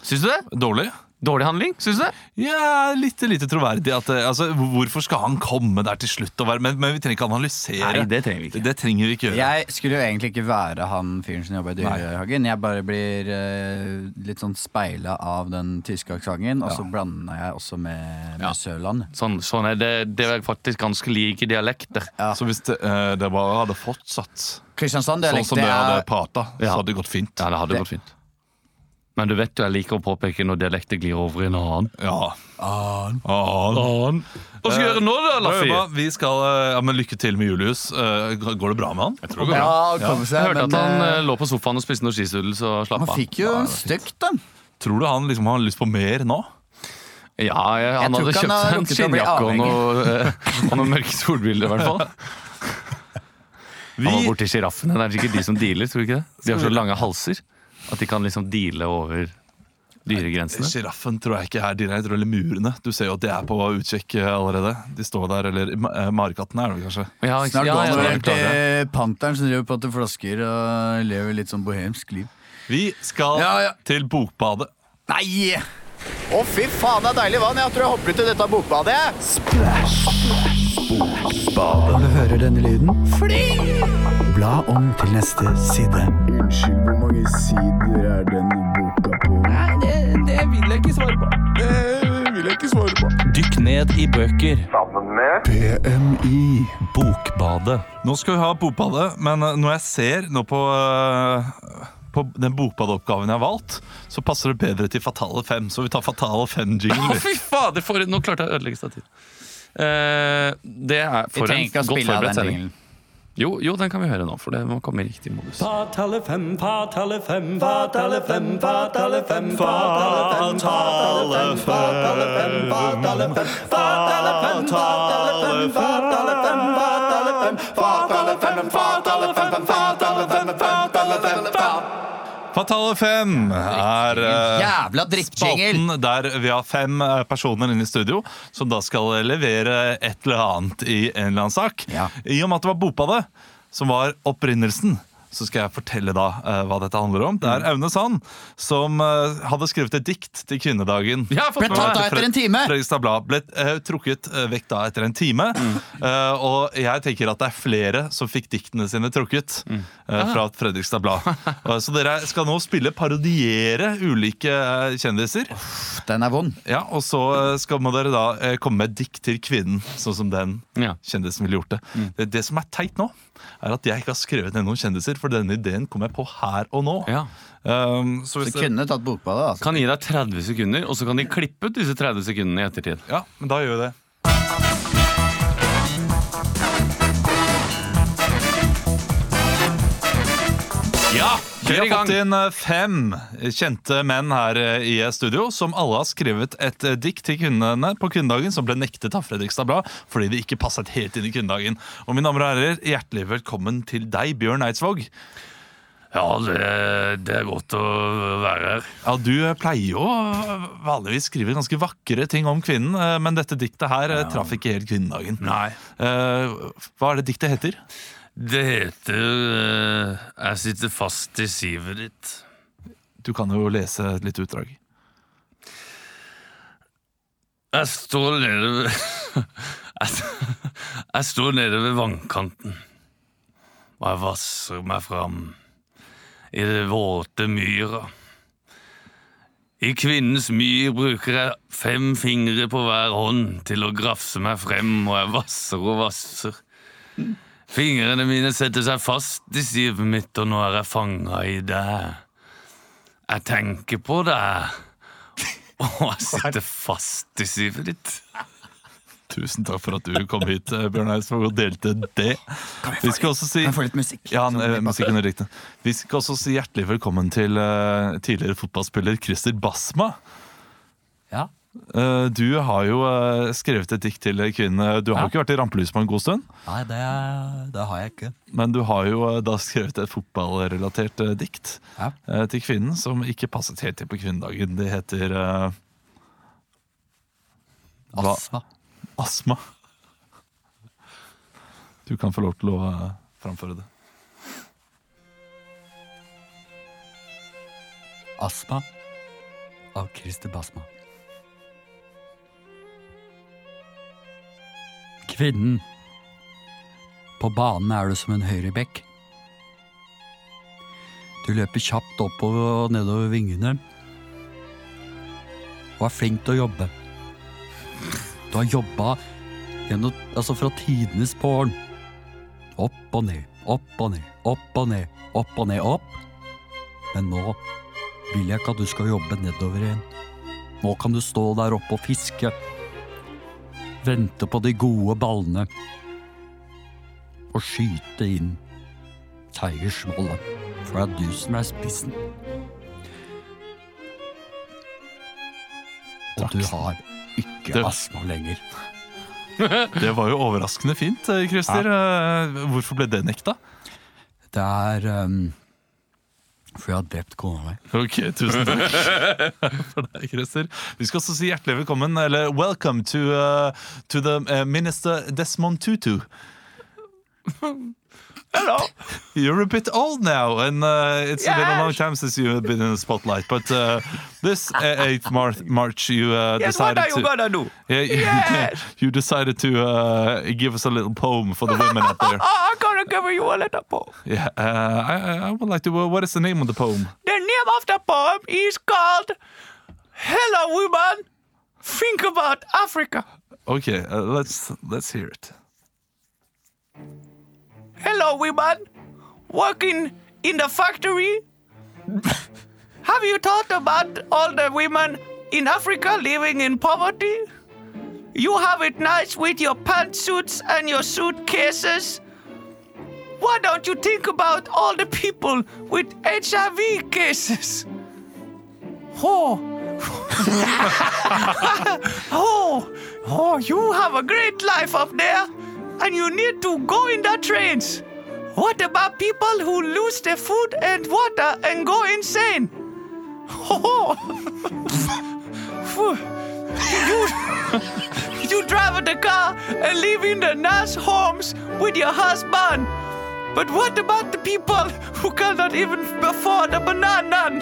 Syns du det? Dårlig? Dårlig handling? Syns du det? Ja, litt lite troverdig. At, eh, altså, hvorfor skal han komme der til slutt? Og være, men, men vi trenger ikke analysere. Nei, det trenger vi ikke. Det, det trenger vi ikke gjøre. Jeg skulle jo egentlig ikke være han fyren som jobba i dyrehagen. Jeg bare blir eh, litt sånn speila av den tyske aksenten, og så blanda jeg også med, med Sørland. Sånn, sånn er det. Det er faktisk ganske like dialekter. Så hvis det, eh, det bare hadde fortsatt sånn Kristiansand-dialekt, som det hadde er prata, så Ja. hadde det gått fint. Ja, det hadde gått fint. Men du vet jo jeg liker å påpeke når dialekter glir over i en annen. Ja. Eh, An. Hva skal vi gjøre nå, da, Laffi? Prøva. Vi skal eh, ja, men Lykke til med Julius. Eh, Går det bra med han? Jeg tror Ja, han kom Jeg seg, hørte men at han eh, eh, lå på sofaen og spiste noen skistudels og slapp han av. fikk jo stygt, da. Tror du han liksom har lyst på mer nå? Ja, jeg, han tror hadde ikke kjøpt han har seg en rukket å bli skinnjakke og avhengig. noe, eh, og noen mørke solbriller, i hvert fall. Han var borti sjiraffene. Det er sikkert de som dealer, tror du ikke det? De har så lange halser at de kan liksom deale over dyregrensene. Sjiraffen tror jeg ikke er dine, jeg tror eller murene. Du ser jo at de er på utkikk eh, allerede. De står der, eller eh, marekattene er det vel kanskje. Ja, ikke- Snart ja, ja, går han det over er klart det. til panteren som driver på til flasker og lever litt sånn bohemsk liv. Vi skal Ja, ja. til Bokbadet. Nei! Å, fy faen, det er deilig vann. Jeg tror jeg hopper ut i dette bokbadet. Bla om til neste side. Unnskyld, hvor mange sider er denne boka på? Nei, det, vil jeg ikke svare på. Dykk ned i bøker. Det vil jeg ikke svare på. BMI. Bokbadet. Nå skal vi ha Bokbadet, men eh, når jeg ser nå på eh, på den bokbadeoppgaven jeg har valgt, så passer det bedre til Fatale 5. Så vi tar Fatale 5-jingle. Å, fy fader! For, nå klarte jeg å ødelegge stativet. Eh, det er Vi for trenger en ikke å godt spille av forberedt den sending. jinglen. Jo, jo, den kan vi høre nå, for det må komme i riktig modus. Fatale fem, fatale fem, fatale fem, fatale fem, fatale fem, fatale fem, fatale fem, fatale fem, fatale fem, fatale fem, fatale fem, fatale fem, fatale fem, fatale fem, fatale fem, fatale fem, fatale fem. Fatale 5 er eh, Jævla drittjingle! spalten der vi har fem eh, personer inne i studio som da skal levere et eller annet i en eller annen sak. Ja. I og med at det var Bopade som var opprinnelsen, så skal jeg fortelle da eh, hva dette handler om. Det er Aune Sand som eh, hadde skrevet et dikt til kvinnedagen. Ja, jeg har fått Ble med tatt meg. av etter en time! Fredrikstad Blad ble eh, trukket eh, vekk da etter en time. Eh, og jeg tenker at det er flere som fikk diktene sine trukket eh, fra Fredrikstad Blad. Eh, så dere skal nå spille parodiere ulike eh, kjendiser. Den er vond. Ja, Og så eh, skal må dere da eh, komme med et dikt til kvinnen, sånn som den Ja. kjendisen ville gjort det. det. Det som er teit nå, er at jeg ikke har skrevet ned noen kjendiser, for denne ideen kom jeg på her og nå. Ja. Um, så Du hvis kunne tatt bokbadet, altså. Kan gi deg 30 sekunder, og så kan de klippe ut disse 30 sekundene i ettertid. Ja, men da gjør vi det. Ja, Vi kjør har i gang. fått inn eh, fem kjente menn her eh, i studio som alle har skrevet et eh, dikt til kvinnene på kvinnedagen som ble nektet av Fredrikstad Blad fordi det ikke passet helt inn i kvinnedagen. Og mine damer og herrer, hjertelig velkommen til deg, Bjørn Eidsvåg. Ja, det, er godt å være her. Ja, Du eh, pleier jo å eh, vanligvis skrive ganske vakre ting om kvinnen, eh, men dette diktet her eh, traff ikke helt kvinnedagen. Nei. Eh, hva er det diktet heter? Det heter eh, Jeg sitter fast i sivet ditt. Du kan jo lese et lite utdrag. Jeg står nede ved jeg, st- jeg står nede ved vannkanten, og jeg vasser meg fram i det våte myra. I kvinnens myr bruker jeg fem fingre på hver hånd til å grafse meg frem, og jeg vasser og vasser. Fingrene mine setter seg fast i sivet mitt, og nå er jeg fanga i deg. Jeg tenker på deg. Og jeg sitter fast i sivet ditt. Tusen takk for at du kom hit, eh, Bjørn Eidsvåg, og delte det. Vi skal også si Kan jeg få litt musikk? ja, eh, musikken er riktig. Vi skal også si hjertelig velkommen til eh, tidligere fotballspiller Christer Basma. Ja. Eh, du har jo eh, skrevet et dikt til kvinnen. Du har jo ikke vært i rampelyset på en god stund, Nei, det, har jeg ikke. men du har jo eh, da skrevet et fotballrelatert eh, dikt Ja. eh, til kvinnen som ikke passet helt til på kvinnedagen. Det heter eh, Hva? Asma. Astma. Du kan få lov til å eh, framføre det. Astma av Christer Basma. Kvinnen. På banen er du som en høyrebekk. Du løper kjapt oppover og nedover vingene. Og er flink til å jobbe. Du har jobba gjennom, altså fra tidenes morgen. Opp og ned, opp og ned, opp og ned, opp og ned, opp. Men nå vil jeg ikke at du skal jobbe nedover igjen. Nå kan du stå der oppe og fiske. Vente på de gode ballene. Og skyte inn seiersmålet. For det er du som er spissen. Og du har ikke Det- astma lenger. Det var jo overraskende fint, eh, Christer. Eh, Hvorfor ble det nekta? Det er ehm, For jeg har drept kona mi. Ok, tusen takk for det, Christer. Vi skal også si hjertelig velkommen, eller welcome to, eh, to the eh, minister Desmond Tutu. Hello. You're a bit old now, and uh, it's been a long time since you have been in the spotlight. But uh, this uh, 8th Mar March, you uh, decided er to. gonna do? Yeah, you- you decided to uh, give us a little poem for the women out there. I'm gonna give you a little poem. Yeah, uh, I, I- I would like to. What is the name of the poem? The name of the poem is called Hello Woman, Think About Africa. Okay, uh, let's let's hear it. Hello Woman, working in the factory. Have you thought about all the women in Africa living in poverty? You have it nice with your pantsuits and your suitcases. Why don't you think about all the people with HIV cases? Oh. oh. Oh, you have a great life up there, and you need to go in the trains. What about people who lose their food and water and go insane? Oh. Phew. you, you drive the car and live in the nice homes with your husband. But what about the people who cannot even afford a banana?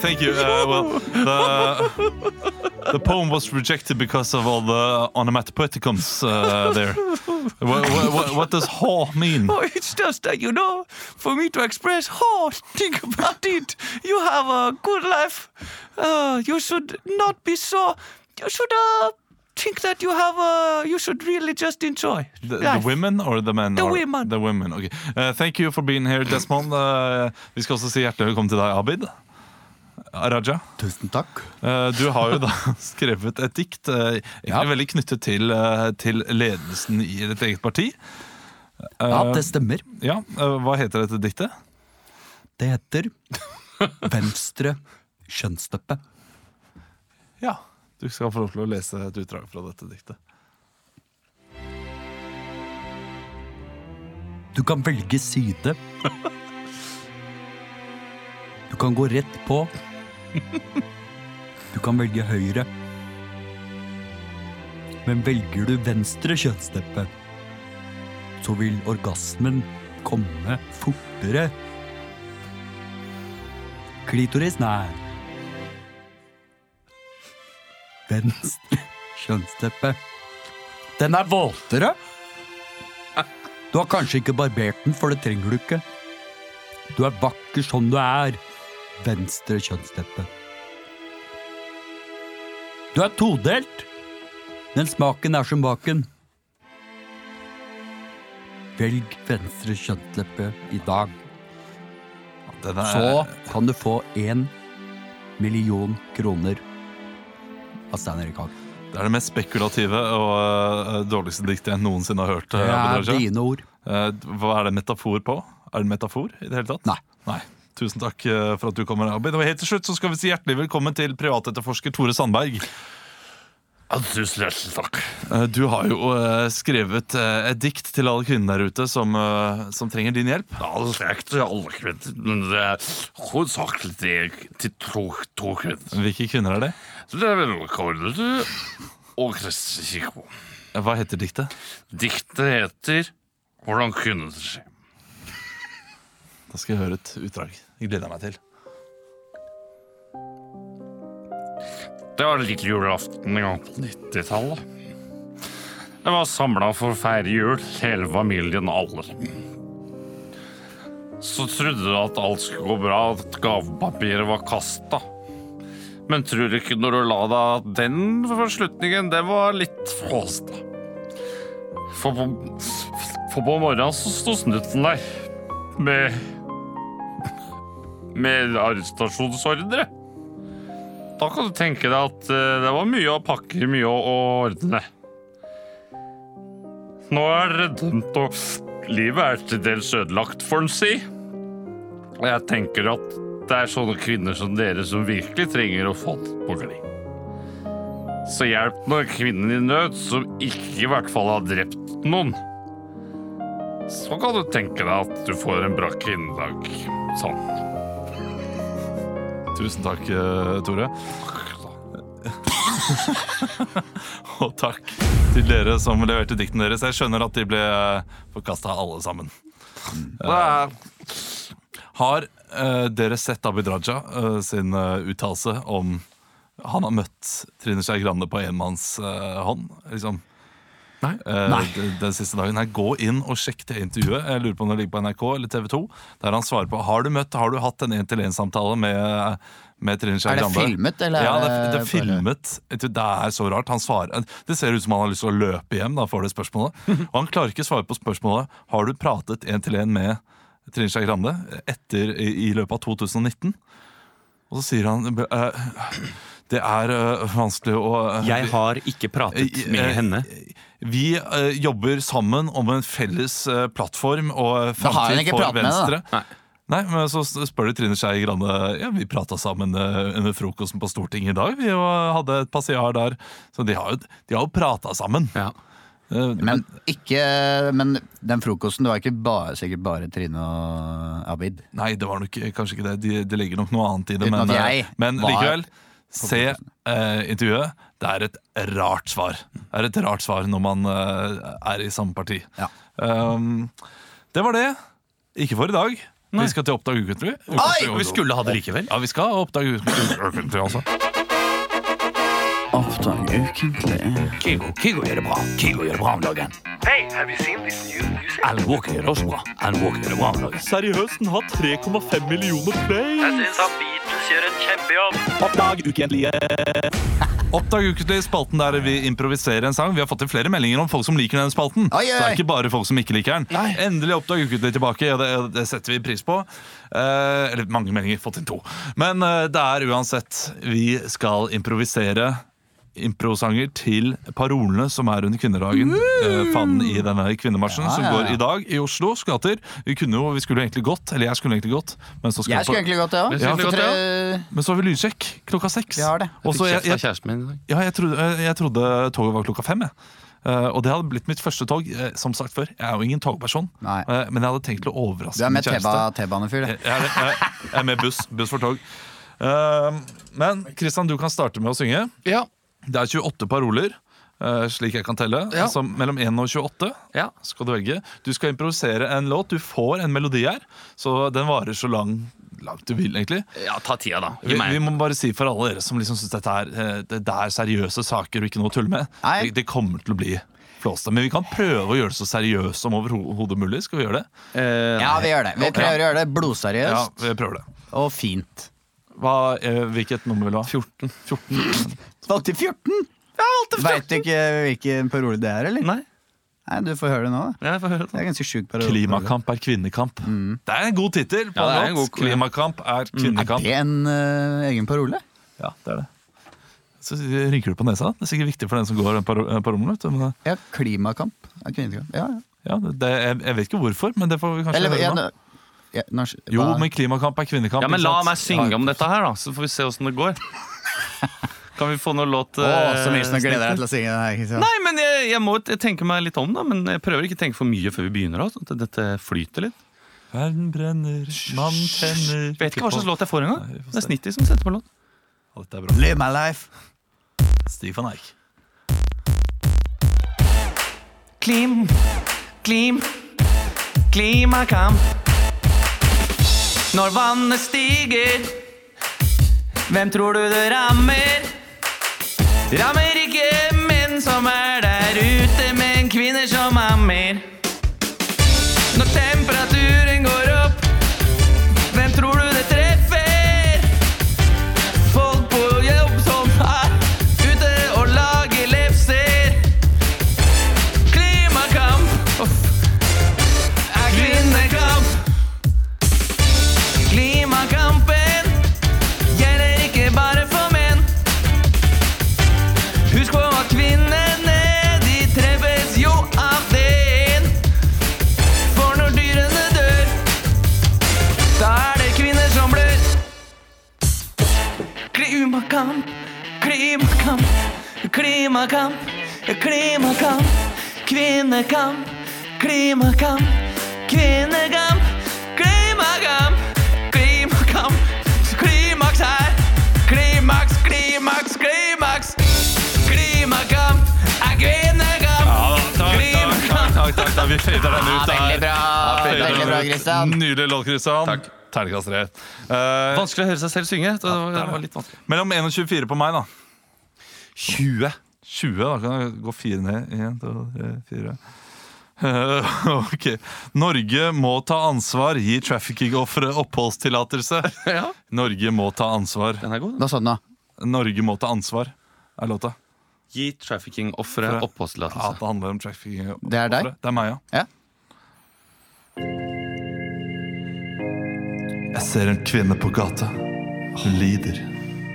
Thank you. Uh, well, the, the poem was rejected because of all the onomatopoeticums uh, there. What, what, what does "haw" mean? Oh, it's just that, you know, for me to express, oh, think about it. You have a good life. Uh, you should not be so. You should uh, think that you have a. You should really just enjoy. The, the life. women or the men? The or- women. The women, okay. Uh, thank you for being here, Desmond. Uh, vi skal også si hjertelig velkommen til deg, Abid. Raja. Tusen takk. Eh, Du har jo da skrevet et dikt, eh, egentlig Ja. veldig knyttet til, eh, til ledelsen i ditt eget parti. Eh, Ja, det stemmer. Ja, eh, Hva heter dette diktet? Det heter Venstre kjønnsleppe. Ja, Du skal få lov til å lese et utdrag fra dette diktet. Du kan velge side. Du kan gå rett på. Du kan velge høyre. Men velger du venstre kjønnsleppe, så vil orgasmen komme fortere. Klitoris, nei. Venstre kjønnsleppe. Den er våtere! Du har kanskje ikke barbert den, for det trenger du ikke. Du er vakker som du er. Venstre kjønnsteppe. Du er todelt, men smaken er som baken. Velg venstre kjønnsleppe i dag, Den er, så kan du få én million kroner av Stein Erik Hagen. Det er det mest spekulative og eh, dårligste diktet jeg noensinne har hørt. eh, Det Abid er Raja. dine ord. Eh, Hva er det en metafor på? Er det en metafor i det hele tatt? Nei. Nei. Tusen takk eh, for at du kommer, Abid. Og helt til slutt så skal vi si hjertelig velkommen til privatetterforsker Tore Sandberg. Tusen hjertelig takk. Eh, Du har jo eh, skrevet eh, et dikt til alle kvinner der ute som, eh, som trenger din hjelp. All rett til alle kvinner, men det er hovedsakelig til, til to, to kvinner. Hvilke kvinner er det? Det er velkommen til og Kristin Kirkebo. Eh, Hva heter diktet? Diktet heter Hvordan kunne det skje? Da skal jeg høre et utdrag. Jeg gleder meg til. Det var litt julaften en gang på 90-tallet. Jeg var samla for å feire jul, hele familien, alle. Så trodde jeg at alt skulle gå bra, at gavepapiret var kasta. Men tror ikke når du la deg at den beslutningen, det var litt flåsta. For på, for på morgenen så sto snutten der med Med arrestasjonsordre. Da kan du tenke deg at eh, det var mye å pakke, mye å å ordne. Nå er det dømt, og livet er til dels ødelagt, får en si. Og jeg tenker at det er sånne kvinner som dere som virkelig trenger å få det på glid. Så hjelp nå kvinnen i nød, som ikke i hvert fall har drept noen. Så kan du tenke deg at du får en bra kvinnedag. Sånn. Tusen takk, eh, Tore. Og takk til dere som leverte diktene deres. Jeg skjønner at de ble forkasta alle sammen. Mm. Eh, har eh, dere sett Abid Raja eh, sin uh, uttalelse om han har møtt Trine Skei Grande på enmannshånd? liksom? Nei. Eh, d- Den siste dagen her Gå inn og sjekk det intervjuet. Jeg lurer på om det ligger på NRK eller TV 2. Der han svarer på Har du møtt, har du hatt en en-til-en-samtale med, med Trine Skei Er det Grande? filmet, eller er Ja, det, det det er filmet. Jeg tror Det er så rart. Han svarer Det ser ut som han har lyst til å løpe hjem, da får det spørsmålet. Og han klarer ikke å svare på spørsmålet Har du pratet en-til-en med Trine Skei Grande etter, i, i løpet av 2019. Og så sier han eh, Det er eh, vanskelig å Jeg har ikke pratet Eh, med eh, henne. vi eh, jobber sammen om en felles eh, plattform og eh, Da har han framtid ikke for pratet med henne, da. Venstre. Nei. men Så s- spør du Trine Skei Grande Ja, vi prata sammen eh, under frokosten på Stortinget i dag. Vi jo hadde et passiar der. Så de har jo, de har jo prata sammen. Ja. Eh, Men, ikke, men den frokosten, det var ikke bare, sikkert bare Trine og Abid. Nei, det var nok kanskje ikke det. De, de legger nok noe annet i det. Uten Men, at jeg eh, men var- likevel, se eh, intervjuet. Det er et rart svar. Det er et rart svar når man eh, er i samme parti. Ja. Um, det var det. Ikke for i dag. Vi skal til Oppdag ukentlig. Og vi skulle ha det likevel. Ja, vi skal ha Oppdag ukentlig ukentlig også. Oppdag ukentlig. Kygo, Kygo gjør det bra. Kygo gjør det bra om dagen. Alan Walker gjør det også bra. Alan Walker gjør det bra om dagen. Seriøst, den har 3,5 millioner play. Oppdag ukentlig, spalten der vi improviserer en sang. Vi har fått inn flere meldinger om folk som liker den spalten. Oi, oi, Så det oi. er ikke bare folk som ikke liker den. Endelig Oppdag ukentlig tilbake, og det, det setter vi pris på. Eh, eller mange meldinger, fått inn to. Men eh, det er uansett Vi skal improvisere improsanger til parolene som er under kvinnedagen. Eh, fanen i denne kvinnemarsjen som ja, ja. går i dag i Oslos gater. Vi kunne jo, vi skulle jo egentlig gått, eller jeg skulle egentlig gått. Men så skal Jeg skulle på- egentlig gått, det òg. skulle egentlig gått, men så har vi lydsjekk klokka seks. Vi har det. Og så Fikk jeg, kjeft jeg, av kjæresten min i dag. ja, jeg trodde, eh, jeg trodde toget var klokka fem. Jeg. Eh, og det hadde blitt mitt første tog. eh, som sagt før, Jeg er jo ingen togperson, Nei. Eh, men jeg hadde tenkt til å overraske Du er min med kjæreste. T-ba- T-banefyr. Jeg det. er, jeg, jeg er med buss. Buss for tog. Eh, men Christian, du kan starte med å synge. Ja. Det er 28 paroler, eh, slik jeg kan telle. Ja. Altså, mellom 1 og 28 Ja. skal du velge. Du skal improvisere en låt. Du får en melodi her, så den varer så lang, langt du vil, egentlig. ja, ta tida, da. Vi, vi må bare si for alle dere som liksom synes dette er, eh, det, det er seriøse saker og ikke noe å tulle med. Nei. Det, det kommer til å bli flåste. Men vi kan prøve å gjøre det så seriøst som overhodet mulig. Skal vi gjøre det? Ja, vi gjør det. Vi prøver å gjøre det Ja, blodseriøst vi prøver det. og fint. Hva, eh, hvilket nummer vil du ha? 14. Valgte 14! Veit du ikke hvilken parole det er, eller? Nei. Nei, Du får høre det nå. da. Jeg får høre det. Det er ganske sjuk parole. Klimakamp er kvinnekamp. Det er en god tittel på Mm. Ja, det er en en låt. god- Mm. Klimakamp er Er kvinnekamp. det en eh, egen parole? Ja, det er det. Så rynker du på nesa. Det er sikkert viktig for den som går på på rommet. vet du, men, eh, Ja, klimakamp. Ja, kvinnekamp. Ja, ja. Ja, det, jeg, jeg vet ikke hvorfor, men det får vi kanskje Eller ja, høre nå. nå- ja, norsk- Jo, hva- men klimakamp er kvinnekamp. Ja, men ikke la sant? meg synge Ja. om dette her, da, så får vi se åssen det går. Kan vi få noe låt Å, eh, så mye som jeg gleder deg til å synge den her. Kristian. Nei, men jeg, jeg må t- tenke meg litt om, da. Men jeg prøver ikke å tenke for mye før vi begynner. da, sånn at dette flyter litt. Verden brenner, mann tenner Vet ikke hva slags låt jeg får engang. Nei, vi får Det er se. Snitty som setter på låt. Ja, Dette er bra. Live my life. Stig van Eijk. Klim, klim, klimakamp. Når vannet stiger, hvem tror du det rammer? Rammer ikke menn som er der ute, men kvinner som ammer. Når temperaturen går opp, hvem tror du det treffer? Folk på jobb som er ute og lager lefser. Klimakamp uff, er kvinnekamp. Klimakampen gjelder ikke bare for menn. Husk på at kvinnene, de treffes jo av den. For når dyrene dør, da er det kvinner som blør. Klimakamp, klimakamp, klimakamp, klimakamp. Kvinnekamp, klimakamp, kvinnekamp, klimakamp, klimakamp. Klimaks her. Klimaks, klimaks, klimaks. Klimakamp er kvinnekamp. Klimakamp. Takk, takk, takk. Vi fader den ut der. veldig bra. Ja, fader Veldig den bra, ut. Christian. Nydelig låt, Kristian. Takk. Terningkast tre. Eh, Vanskelig å høre seg selv synge. Det var, det var litt vanskelig. mellom 1 og 24 på meg, da. 20. 20, Da kan jeg gå fire ned. Én, to, tre, fire. Eh, ok. Norge må ta ansvar. Gi trafficking-ofre oppholdstillatelse. Norge må ta ansvar. Den er god. Hva sa den, da? Norge må ta ansvar, er låta. Gi trafficking-ofre Ofre. Ja, oppholdstillatelse. det handler om trafficking. Det er deg? Det er meg, ja. Ja. Jeg ser en kvinne på gata. Hun lider.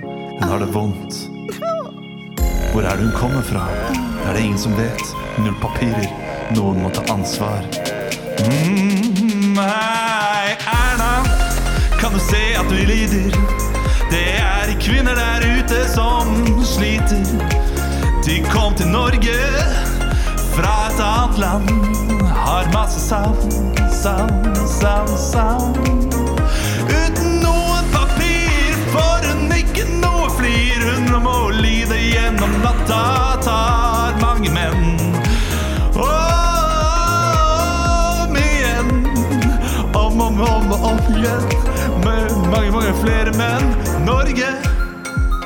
Hun har det vondt. Hvor er det hun kommer fra? Det er det ingen som vet. Null papirer. Noen må ta ansvar. Mm, hei, Erna. Kan du se at vi lider? Det er kvinner der ute som sliter. De kom til Norge fra et annet land. Har masse savn, savn, savn, savn. Uten noen papir får hun ikke noe flir. Hun må lide gjennom natta, tar mange menn. Om igjen, om og om, om, og om igjen. Med mange, mange flere menn. Norge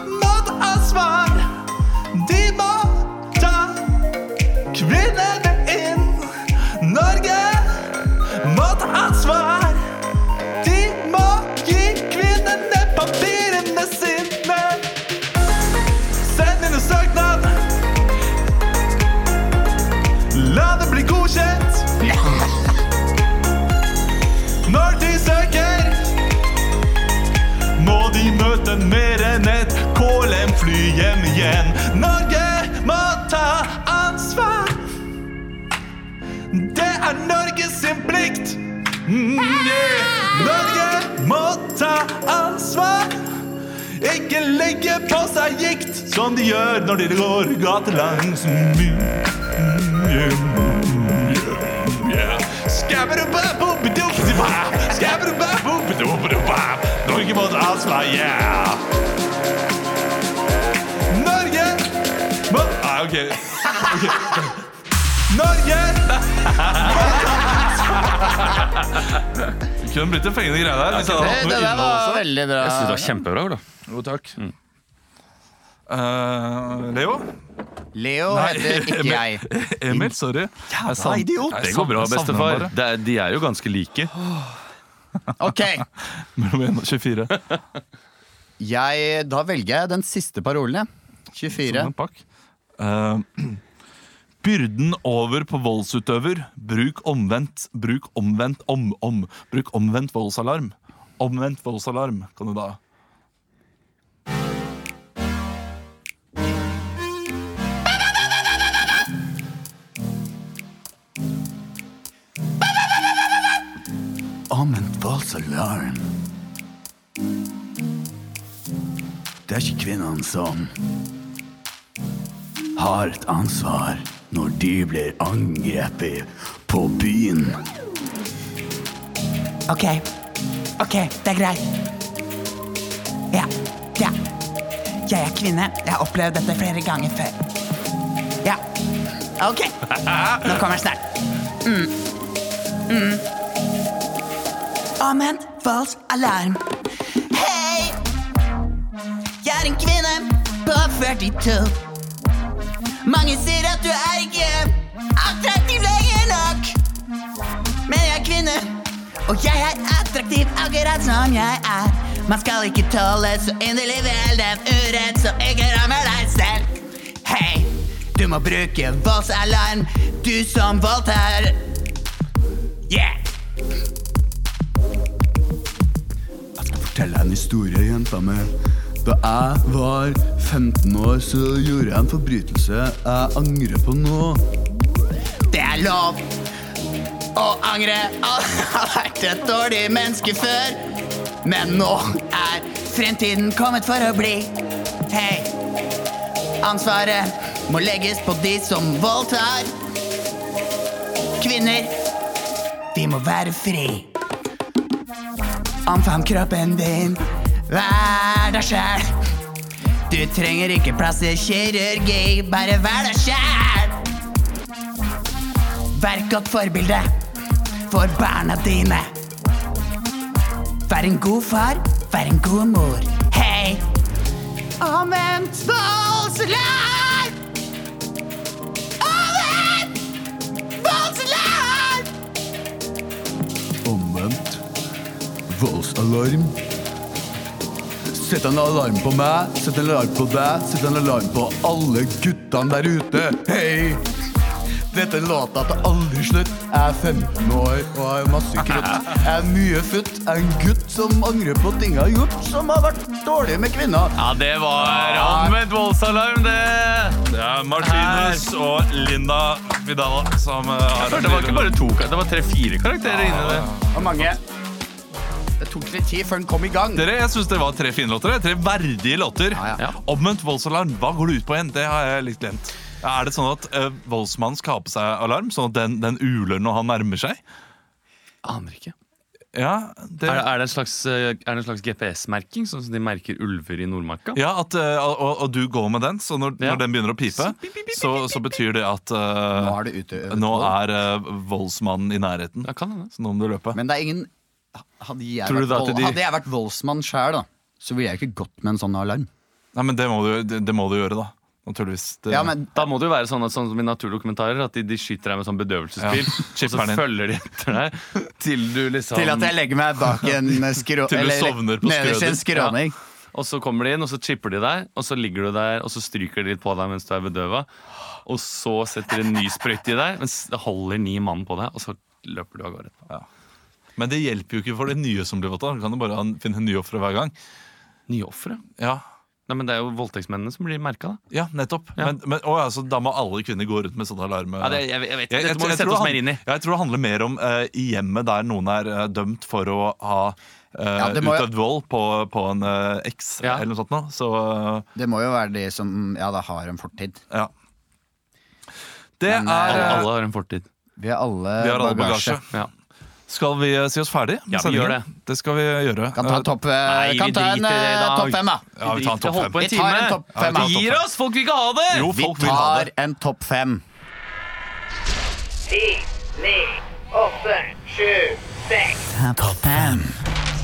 må ta ansvar. De må ta kvinnene inn. Norge må ta ansvar. De må gi kvinnene papirene sine. Send inn en søknad. La det bli godkjent. Når de søker, må de møte mer enn et KLM-fly hjem igjen. Norge må ta ansvar. Det er Norges sin plikt. Mm, yeah. Norge må ta ansvar. Ikke legge på seg gikt som de gjør når de går gatelangs. Mm, yeah, mm, yeah, yeah. Skabberubabubidubba, skabberubabubidubba. Norge må ta ansvar, yeah! Norge må ah, ok. Ok. Norge Det kunne blitt en fengende greie der. Hvis jeg hadde Det, hatt det noe der innhold. var veldig bra. Jeg synes det var kjempebra, Ola. Jo, takk. Mm. Eh, Leo? Leo heter ikke jeg. Emil, sorry. Jævla idiot. Det går bra, bestefar. Det er, de er jo ganske like. Ok, Mellom 1 og 24. jeg, Da velger jeg den siste parolen, jeg. 24. Sånn en pakk. Eh, Byrden over på voldsutøver. Bruk omvendt. Bruk omvendt om, om. Bruk omvendt voldsalarm. Omvendt voldsalarm, kan du da. Om en false alarm. Det er ikke kvinnene som har et ansvar når de blir angrepet på byen. Ok, ok, det er greit. Ja, ja. Jeg er kvinne. Jeg har opplevd dette flere ganger før. Ja. Ok, nå kommer den snart. Mm. Mm. Amen. Falsk alarm. Hei! Jeg er en kvinne på 42. Mange sier at du er ikke attraktiv lenger nok. Men jeg er kvinne, og jeg er attraktiv akkurat som jeg er. Man skal ikke tåle så inderlig vel den urett som ikke rammer deg selv. Hei, du må bruke voldsalarm, du som voldtar. Yeah! fortelle en historie, jenta mi. Da jeg var 15 år, så gjorde jeg en forbrytelse jeg angrer på nå. Det er lov å angre. Alle har vært et dårlig menneske før. Men nå er fremtiden kommet for å bli. Hei. Ansvaret må legges på de som voldtar. Kvinner, vi må være fri. Omfavn kroppen din. Vær deg sjæl. Du trenger ikke plass til kirurgi, bare vær deg sjæl. Vær et godt forbilde for barna dine. Vær en god far, vær en god mor. Hei! Omvendt voldsalarm! Omvendt voldsalarm! Omvendt. Voldsalarm. Sett en alarm på meg, sett en alarm på deg, sett en alarm på alle guttene der ute. Hei! Dette låta tar aldri slutt. Jeg er 15 år og har masse krutt. Jeg er mye futt. Jeg er en gutt som angrer på ting jeg har gjort som har vært dårlig med kvinner. Ja, det var anvendt voldsalarm, det. Det er Martinus og Linda Vidal som eh, har Det var ikke bare to, det var tre-fire karakterer inni det. Og mange. Det tok litt tid før den kom i gang. Dere, jeg synes det var tre fine låter. Tre verdige låter. Omvendt voldsalarm, hva går det ut på igjen? Det har jeg litt glemt. Er det sånn at eh, voldsmannen skal ha på seg alarm, sånn at den, den uler når han nærmer seg? Aner ikke. Ja, det, Er, det- er det en slags, eh, er det en slags GPS-merking, sånn som de merker ulver i Nordmarka? ja at, eh, og, og du går med den, så når, Ja. når den begynner å pipe, så, så betyr det at eh, Nå er det ute. nå er eh, voldsmannen i nærheten. Ja, kan hende. Så nå må du løpe. Men det er ingen Hadde jeg, Tror du vært, det at vold, de- hadde jeg vært voldsmann sjæl, da, så ville jeg ikke gått med en sånn alarm. Nei, men det må du, det, det må du gjøre, da. Naturligvis. Det, Ja, men Da må det jo være sånn, at, sånn som i naturdokumentarer at de, de skyter deg med sånn bedøvelsespil. Og Chipper så den inn. følger de etter deg til du liksom Til at jeg legger meg bak en skrå... Til du eller sovner på nederst i en skrøder. skråning. Og så kommer de inn, og så chipper de deg, og så ligger du der, og så stryker de litt på deg mens du er bedøva. Og så setter de en ny sprøyte i deg, mens det holder ni mann på deg, og så løper du av gårde. etterpå. men det hjelper jo ikke for det nye som blir voldtatt. Du kan jo bare an- finne nye ofre hver gang. Nye ofre? Ja, Nei, men det er jo voldtektsmennene som blir merka, da. ja nettopp. Ja. Men, men, å, ja, så da må alle kvinner gå rundt med sånn alarme? Ja, det, jeg, jeg vet, Jeg- jeg Dette må tror- vi jeg sette tror oss han- mer inn i. Ja, jeg tror det handler mer om eh, i hjemmet der noen er eh, dømt for å ha eh, Ja, det må jo- utøvd vold på, på en eh, eks Ja. eller noe sånt. Nå. Så eh, Det må jo være de som ja, da har en fortid. ja. Det Men, eh, er Alle, eh, alle har en fortid. Vi har alle, Vi har alle bagasje. bagasje. Ja. Skal vi eh, si oss ferdig? med Ja, vi sendingen? gjør det. Det skal vi eh, gjøre. Kan ta, topp, eh, Nei, vi kan ta en driter i det eh, da. topp fem, da. Ja, vi tar en topp holdt fem. på Vi en tar en time. topp fem. altså. Vi gir oss! Folk vil ikke ha det! Jo, Vi folk vil ha tar det. en topp fem. Topp fem.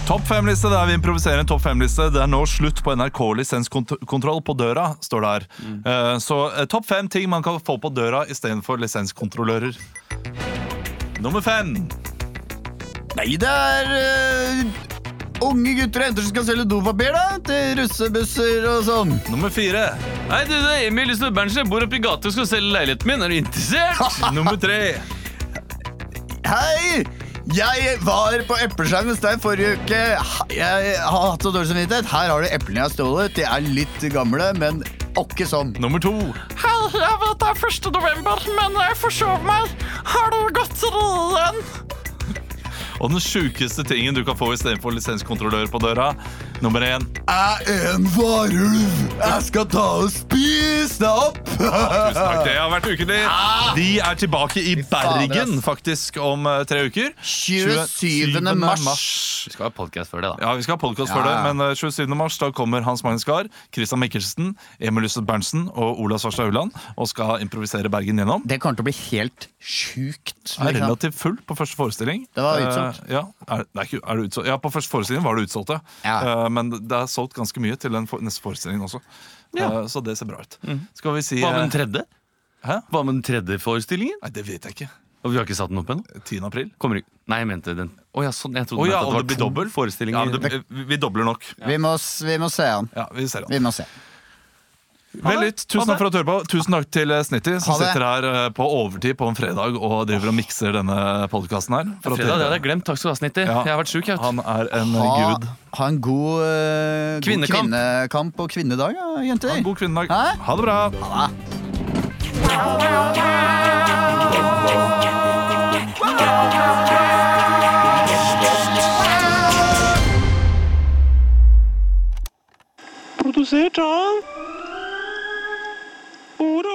Topp fem-liste der vi improviserer en topp fem-liste. Det er nå slutt på NRK lisenskontroll på døra, står det her. Mm. Eh, så eh, topp fem ting man kan få på døra istedenfor lisenskontrollører. Nummer fem. Nei, det er eh, unge gutter og jenter som skal selge dopapir da, til russebusser og sånn. Nummer fire. Hei, du, det er Emil Snubberntsen. Jeg bor oppe i gata og skal selge leiligheten min. Er du interessert? Nummer tre. Hei! Jeg var på epleskjær hos deg forrige uke. Jeg har hatt så dårlig samvittighet. Her har du eplene jeg har stjålet. De er litt gamle, men åkke sånn. Nummer to. Hei, jeg vet det er 1. november, men jeg forsov meg. Har du godteri igjen? Og den sjukeste tingen du kan få istedenfor lisenskontrollør på døra, Nummer én. Jeg er en varulv! Jeg skal ta og spise deg opp! Tusen takk, det har vært ukentlig. De er tilbake i Bergen faktisk om eh, tre uker. 27. mars. Vi skal ha podkast før det, da. Ja, vi skal ha podkast Ja, for det, ja. men eh, 27. mars da kommer Hans Magnus Gahr, Christian Mikkelsen, Emil Lysse Berntsen og Ola Svarstad Uland og skal improvisere Bergen gjennom. Det kommer til å bli helt sjukt. Det er liksom. relativt fullt på første forestilling. Det var utsolgt. Eh, ja, er, det er ikke, er det utsolgt? ja, på første forestilling var det utsolgt, ja. Ja. Eh, men det er solgt ganske mye til den for, neste forestillingen også. Eh, så det ser bra ut. Mm. Skal vi si Hva med den eh, tredje? Hæ? Hva med den tredje forestillingen? Nei, det vet jeg ikke. Og vi har ikke satt den opp ennå? 10. april. Kommer ikke Nei, jeg mente den. Å ja, sånn. Jeg trodde Å ja, du mente og at det det blir var dobbelt? to forestillinger. Ja, det, vi dobler nok. Vi må, s- vi må se han. Ja, vi ser Vi an. må se. Vel, litt. Tusen takk for at du hører på. Tusen takk til eh, Snitty, som Ha det. sitter her eh, på overtid på en fredag og driver og mikser denne podkasten her. For at Fredag, det hadde dere- jeg glemt. Takk skal du ha, Snitti. Ja. Jeg har vært sjuk. jeg, vet du. Han er en eh, Ha, gud. ha en god, eh, god Kvinnekamp. kvinnekamp og kvinnedag, ja, jenter. God kvinnedag. Hæ? Ha det bra. Produsert av Oro